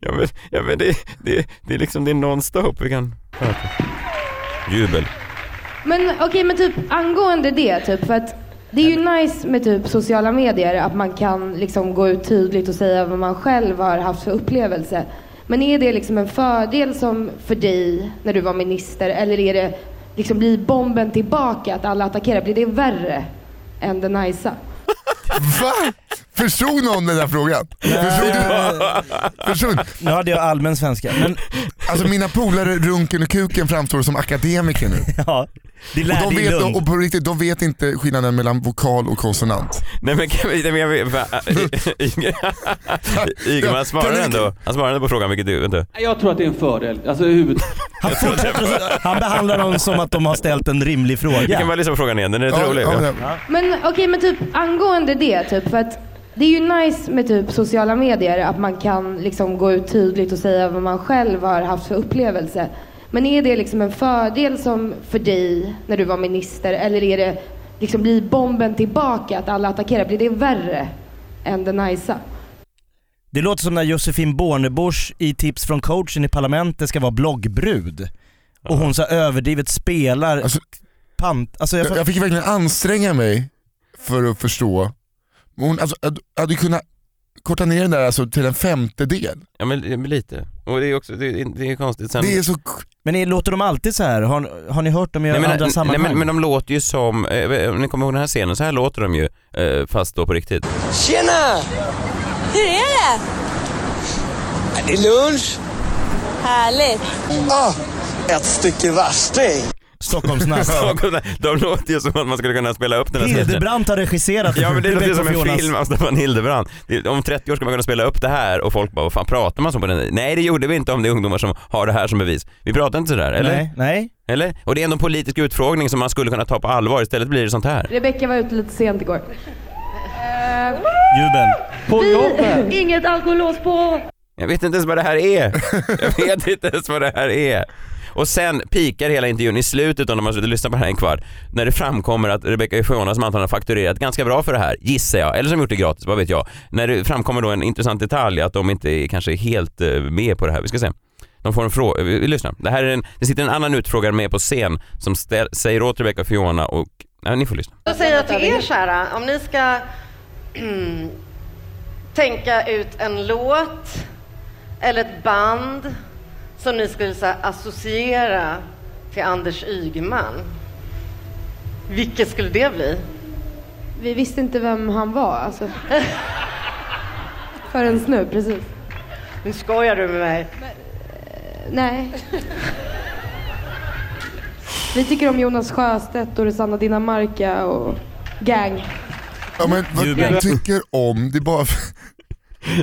[SPEAKER 1] Ja men, ja, men det, det, det är liksom det är non-stop. Vi kan höra på. Jubel.
[SPEAKER 15] Men okej, men typ angående det, typ för att det är ju nice med typ sociala medier att man kan liksom gå ut tydligt och säga vad man själv har haft för upplevelse. Men är det liksom en fördel som för dig när du var minister eller är det liksom blir bomben tillbaka att alla attackerar? Blir det värre än det nicea?
[SPEAKER 2] Va? Förstod någon den där frågan? Förstod du? Förstod?
[SPEAKER 3] Nu hade jag allmän svenska.
[SPEAKER 1] [LAUGHS]
[SPEAKER 3] Men
[SPEAKER 2] Alltså mina polare Runken och Kuken framstår som akademiker nu.
[SPEAKER 3] ja, det lärde
[SPEAKER 2] och de
[SPEAKER 3] i
[SPEAKER 2] vet,
[SPEAKER 3] Lund.
[SPEAKER 2] och på riktigt, de vet inte skillnaden mellan vokal
[SPEAKER 1] [LAUGHS]
[SPEAKER 2] och konsonant.
[SPEAKER 1] Nej men kan vi, nej, men jag vet, [LAUGHS] va, eh, Y- Y- Ygeman svarar ändå, han svarar ändå på frågan vilket du, vänta.
[SPEAKER 14] Jag tror att det är en fördel. Alltså i huvudet.
[SPEAKER 3] Han fortsätter, han behandlar dem som att de har ställt en rimlig fråga.
[SPEAKER 1] Vi kan bara lyssna på frågan igen, den är rätt rolig.
[SPEAKER 15] Men okej, men typ angående det, typ för att det är ju nice med typ sociala medier att man kan liksom gå ut tydligt och säga vad man själv har haft för upplevelse. Men är det liksom en fördel som för dig när du var minister eller är det liksom blir bomben tillbaka att alla attackerar? Blir det värre än det nicea?
[SPEAKER 3] Det låter som när Josefin Bornebusch i Tips från coachen i Parlamentet ska vara bloggbrud. Och hon så här överdrivet spelar pant... Alltså jag,
[SPEAKER 2] Jag, jag fick verkligen anstränga mig för att förstå. Hon alltså, jag hade kunnat korta ner den där alltså, till en femtedel.
[SPEAKER 1] Ja men, men lite. Och det är också, det är, det är konstigt sen.
[SPEAKER 3] Men är, låter de alltid så här? Har, har ni hört dem i
[SPEAKER 1] Nej, men,
[SPEAKER 3] andra
[SPEAKER 1] nej
[SPEAKER 3] sammanhang?
[SPEAKER 1] men, men de låter ju som, eh, om ni kommer ihåg den här scenen, så här låter de ju eh, fast då på riktigt.
[SPEAKER 16] Tjena!
[SPEAKER 4] Hur är det?
[SPEAKER 16] Är det lunch?
[SPEAKER 4] Härligt.
[SPEAKER 16] Ah, ett stycke värsting.
[SPEAKER 1] [LAUGHS]
[SPEAKER 3] Stockholmsnatt.
[SPEAKER 1] de låter ju som att man skulle kunna spela upp den här sketchen.
[SPEAKER 3] Hildebrandt har regisserat
[SPEAKER 1] Ja men det låter
[SPEAKER 3] Beck
[SPEAKER 1] ju som
[SPEAKER 3] och
[SPEAKER 1] en
[SPEAKER 3] Jonas.
[SPEAKER 1] film av Staffan Hildebrand. Det- Om 30 år ska man kunna spela upp det här och folk bara, vad fan pratar man så på den tiden?" Nej det gjorde vi inte om det är ungdomar som har det här som bevis. Vi pratar inte sådär, eller?
[SPEAKER 3] Nej, nej.
[SPEAKER 1] Eller? Och det är ändå en politisk utfrågning som man skulle kunna ta på allvar, istället blir det sånt här.
[SPEAKER 15] Rebecka var ute lite sent igår. Eh,
[SPEAKER 3] Jubel.
[SPEAKER 15] vi, inget alkoholås på!
[SPEAKER 1] Jag vet inte ens vad det här är. Jag vet [LAUGHS] inte ens vad det här är. Och sen pikar hela intervjun i slutet, om de har suttit och lyssnat på det här en kvart, när det framkommer att Rebecca Eufona som antagligen har fakturerat ganska bra för det här, gissar jag, eller som gjort det gratis, vad vet jag. När det framkommer då en intressant detalj att de inte är kanske helt eh, med på det här. Vi ska se. De får en fråga, vi vi lyssnar. Det här är en, det sitter en annan utfrågare med på scen som stä- säger åt Rebecca och Fiona och, ja ni får lyssna. [LAUGHS]
[SPEAKER 13] Då säger jag till er kära, om ni ska [CLEARS THROAT] mm, tänka ut en låt eller ett band som ni skulle så här, associera till Anders Ygeman. Vilket skulle det bli?
[SPEAKER 15] vi visste inte vem han var alltså. Förrän nu, precis.
[SPEAKER 13] Nu skojar du med mig.
[SPEAKER 15] Nej. Vi tycker om Jonas Sjöstedt och Rosanna Dinamarca och gang.
[SPEAKER 2] Ja, men vad
[SPEAKER 1] Jubel.
[SPEAKER 2] du tycker om, det är bara... [LAUGHS]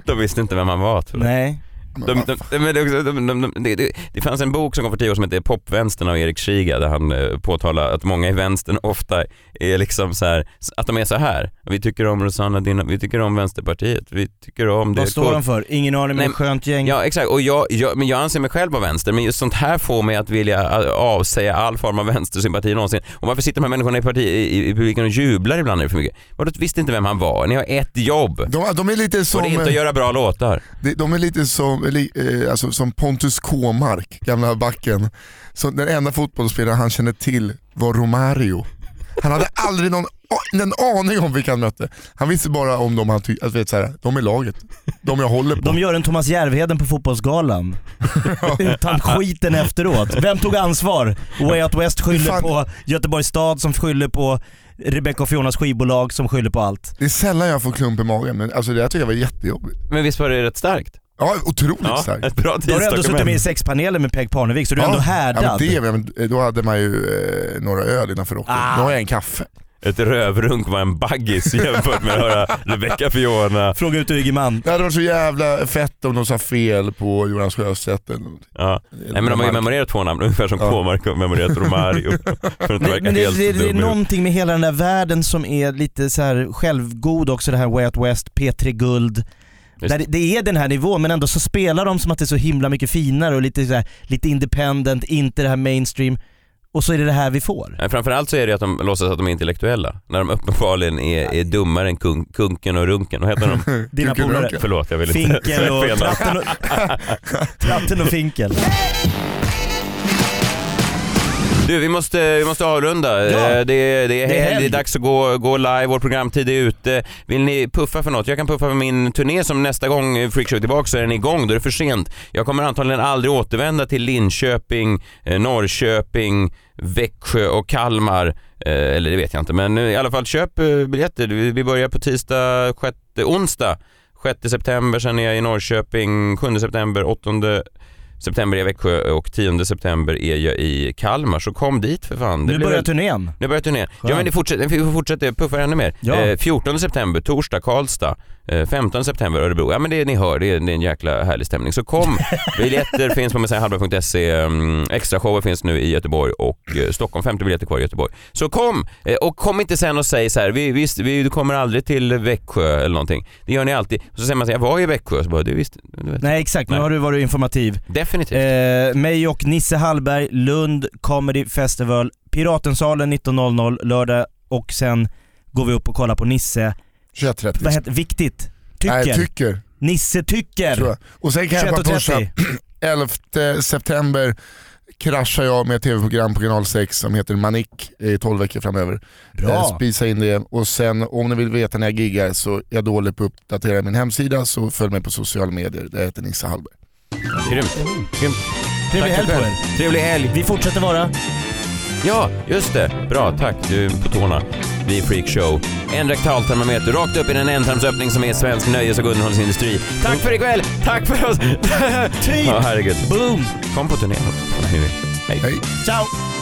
[SPEAKER 1] De visste inte vem han var tror jag.
[SPEAKER 3] Nej.
[SPEAKER 1] De, de, de, men det är också- de, de, de, det- det- det fanns en bok som kom för tio år som heter Popvänstern av Erik Schiga där han eh, påtalar att många i vänstern ofta är liksom så här, att de är så här. Vi tycker om Rosanna Dina, vi tycker om Vänsterpartiet, vi tycker om det.
[SPEAKER 3] Vad står de för? Ingen aning men
[SPEAKER 1] Nej,
[SPEAKER 3] ett skönt gäng.
[SPEAKER 1] Ja exakt, och jag, jag, men jag anser mig själv vara vänster men just sånt här får mig att vilja eh, avsäga all form av vänstersympati någonsin. Och varför sitter de här människorna i, parti, i, i, i publiken och jublar ibland när det är för mycket? Vadå visste inte vem han var? Ni har ett jobb.
[SPEAKER 2] De, de är lite som...
[SPEAKER 1] och det är inte att göra bra låtar.
[SPEAKER 2] De, de är lite som, li, eh, alltså, som Pontus Kåmark, gamla backen. Så den enda fotbollsspelaren han kände till var Romario. Han hade aldrig någon a- en aning om vilka han mötte. Han visste bara om dem han tyckte, alltså, vet, så här, de är laget. De jag håller på.
[SPEAKER 3] De gör en Thomas Järvheden på Fotbollsgalan. [LAUGHS] Utan skiten efteråt. Vem tog ansvar? Way Out West skyller på Göteborgs stad som skyller på Rebecca och Fionas skivbolag som skyller på allt.
[SPEAKER 2] Det är sällan jag får klump i magen men alltså, det där tycker jag var jättejobbigt.
[SPEAKER 1] Men visst var det rätt starkt?
[SPEAKER 2] Ja, otroligt
[SPEAKER 1] Ja,
[SPEAKER 2] starkt.
[SPEAKER 1] ett bra
[SPEAKER 3] Då har du ändå suttit med i sexpanelen med Peg Parnevik så du är ändå härdad.
[SPEAKER 2] Ja, men det, men då hade man ju eh, några öl innanför rocken.
[SPEAKER 3] Ah.
[SPEAKER 2] Nu har jag en kaffe.
[SPEAKER 1] ett rövrunk var en baggis [LAUGHS] jämfört med att höra Rebecca Fiona.
[SPEAKER 3] Fråga ut Ygeman.
[SPEAKER 2] Det hade varit så jävla fett om de sa fel på Jonas Sjöstedt. eller något.
[SPEAKER 1] Ja. Nej, men de har ju memorerat två namn, [LAUGHS] ungefär som K-Mark har memorerat [LAUGHS] Romario. För att inte
[SPEAKER 3] Men,
[SPEAKER 1] verka
[SPEAKER 3] men det,
[SPEAKER 1] helt
[SPEAKER 3] det, det är
[SPEAKER 1] dum i
[SPEAKER 3] någonting med hela den där världen som är lite så här självgod också, det här Way Out West, P3 Guld.
[SPEAKER 1] Just.
[SPEAKER 3] Där det, det är den här nivån men ändå så spelar de som att det är så himla mycket finare och lite, så här, lite independent, inte det här mainstream. Och så är det det här vi får.
[SPEAKER 1] Nej, framförallt så är det att de låtsas att de är intellektuella när de uppenbarligen är, är dummare än kung, Kunken och Runken. Vad heter de? [LAUGHS]
[SPEAKER 3] Dina
[SPEAKER 1] Kunken och
[SPEAKER 3] polare.
[SPEAKER 1] Runken. Förlåt, jag vill inte [LAUGHS]
[SPEAKER 3] Finkel och
[SPEAKER 1] fel namn.
[SPEAKER 3] tratten och, [LAUGHS] tratten och finkel.
[SPEAKER 1] Du, vi måste, vi måste avrunda.
[SPEAKER 3] Ja.
[SPEAKER 1] Eh, Det, det är
[SPEAKER 3] Det är
[SPEAKER 1] helg,
[SPEAKER 3] helg.
[SPEAKER 1] det är dags att gå, gå live, vår programtid är ute. Vill ni puffa för något? Jag kan puffa för min turné som nästa gång Freakshow är tillbaka så är den igång, då är det för sent. Jag kommer antagligen aldrig återvända till Linköping, eh, Norrköping, Växjö och Kalmar. Eh, Eller det vet jag inte, men eh, i alla fall köp eh, biljetter. Vi vi börjar på tisdag, sjätte, onsdag 6 september, sen är jag i Norrköping 7 september, 8 september är jag i Växjö och 10 september är jag i Kalmar. Så kom dit för fan. Det
[SPEAKER 3] Nu
[SPEAKER 1] blir
[SPEAKER 3] börjar
[SPEAKER 1] väl-
[SPEAKER 3] turnén.
[SPEAKER 1] Nu börjar turnén. Ja men det fortsätter, vi fortsätter puffa ännu mer.
[SPEAKER 3] Ja.
[SPEAKER 1] Eh, 14 september, torsdag, Karlstad. Eh, 15 september, Örebro. Ja men det ni hör, det är, det är en jäkla härlig stämning. Så
[SPEAKER 3] [LAUGHS]
[SPEAKER 1] kom! Biljetter finns på messiahallberg.se. Mm, Extrashower finns nu i Göteborg och eh, Stockholm. 50 biljetter kvar i Göteborg. Så kom! Eh, och kom inte sen och säg så här, vi, visst, vi, du kommer aldrig till Växjö eller någonting. Det gör ni alltid. Och så säger man så här, jag var i Växjö. Så bara, du visst, du vet.
[SPEAKER 3] Nej exakt, nu har du varit informativ.
[SPEAKER 1] Definitivt.
[SPEAKER 3] Eh, mig och Nisse Hallberg, Lund Comedy Festival, Piratensalen 19.00 lördag och sen går vi upp och kollar på Nisse.
[SPEAKER 2] 21.30.
[SPEAKER 3] Vad heter Viktigt? Tycker.
[SPEAKER 2] Nej, tycker.
[SPEAKER 3] Nisse tycker.
[SPEAKER 2] Tror jag. Och sen kan jag bara pusha. [CLEARS THROAT]
[SPEAKER 3] 21.30.
[SPEAKER 2] 11 september kraschar jag med ett tv-program på kanal 6 som heter Manick i 12 veckor framöver.
[SPEAKER 3] Bra.
[SPEAKER 2] Eh, Spisa in det och sen om ni vill veta när jag giggar så är jag dålig på att uppdatera min hemsida så följ mig på sociala medier. Det heter Nisse Hallberg.
[SPEAKER 1] Grymt. Grymt.
[SPEAKER 3] Trevlig
[SPEAKER 1] Tack
[SPEAKER 3] helg
[SPEAKER 1] för
[SPEAKER 3] på
[SPEAKER 1] själv.
[SPEAKER 3] er.
[SPEAKER 1] Trevlig helg.
[SPEAKER 3] Vi fortsätter vara...
[SPEAKER 1] Ja, just det. Bra, tack. Du är på tårna. Vi är Freakshow. En rektaltermometer rakt upp i den ändtarmsöppning som är svensk nöjes och underhållningsindustri. Tack för ikväll! Tack för oss! [LAUGHS]
[SPEAKER 3] Typ!
[SPEAKER 1] Ja, herregud.
[SPEAKER 3] Boom!
[SPEAKER 1] Kom på turné. Hej.
[SPEAKER 2] Hej.
[SPEAKER 3] Ciao!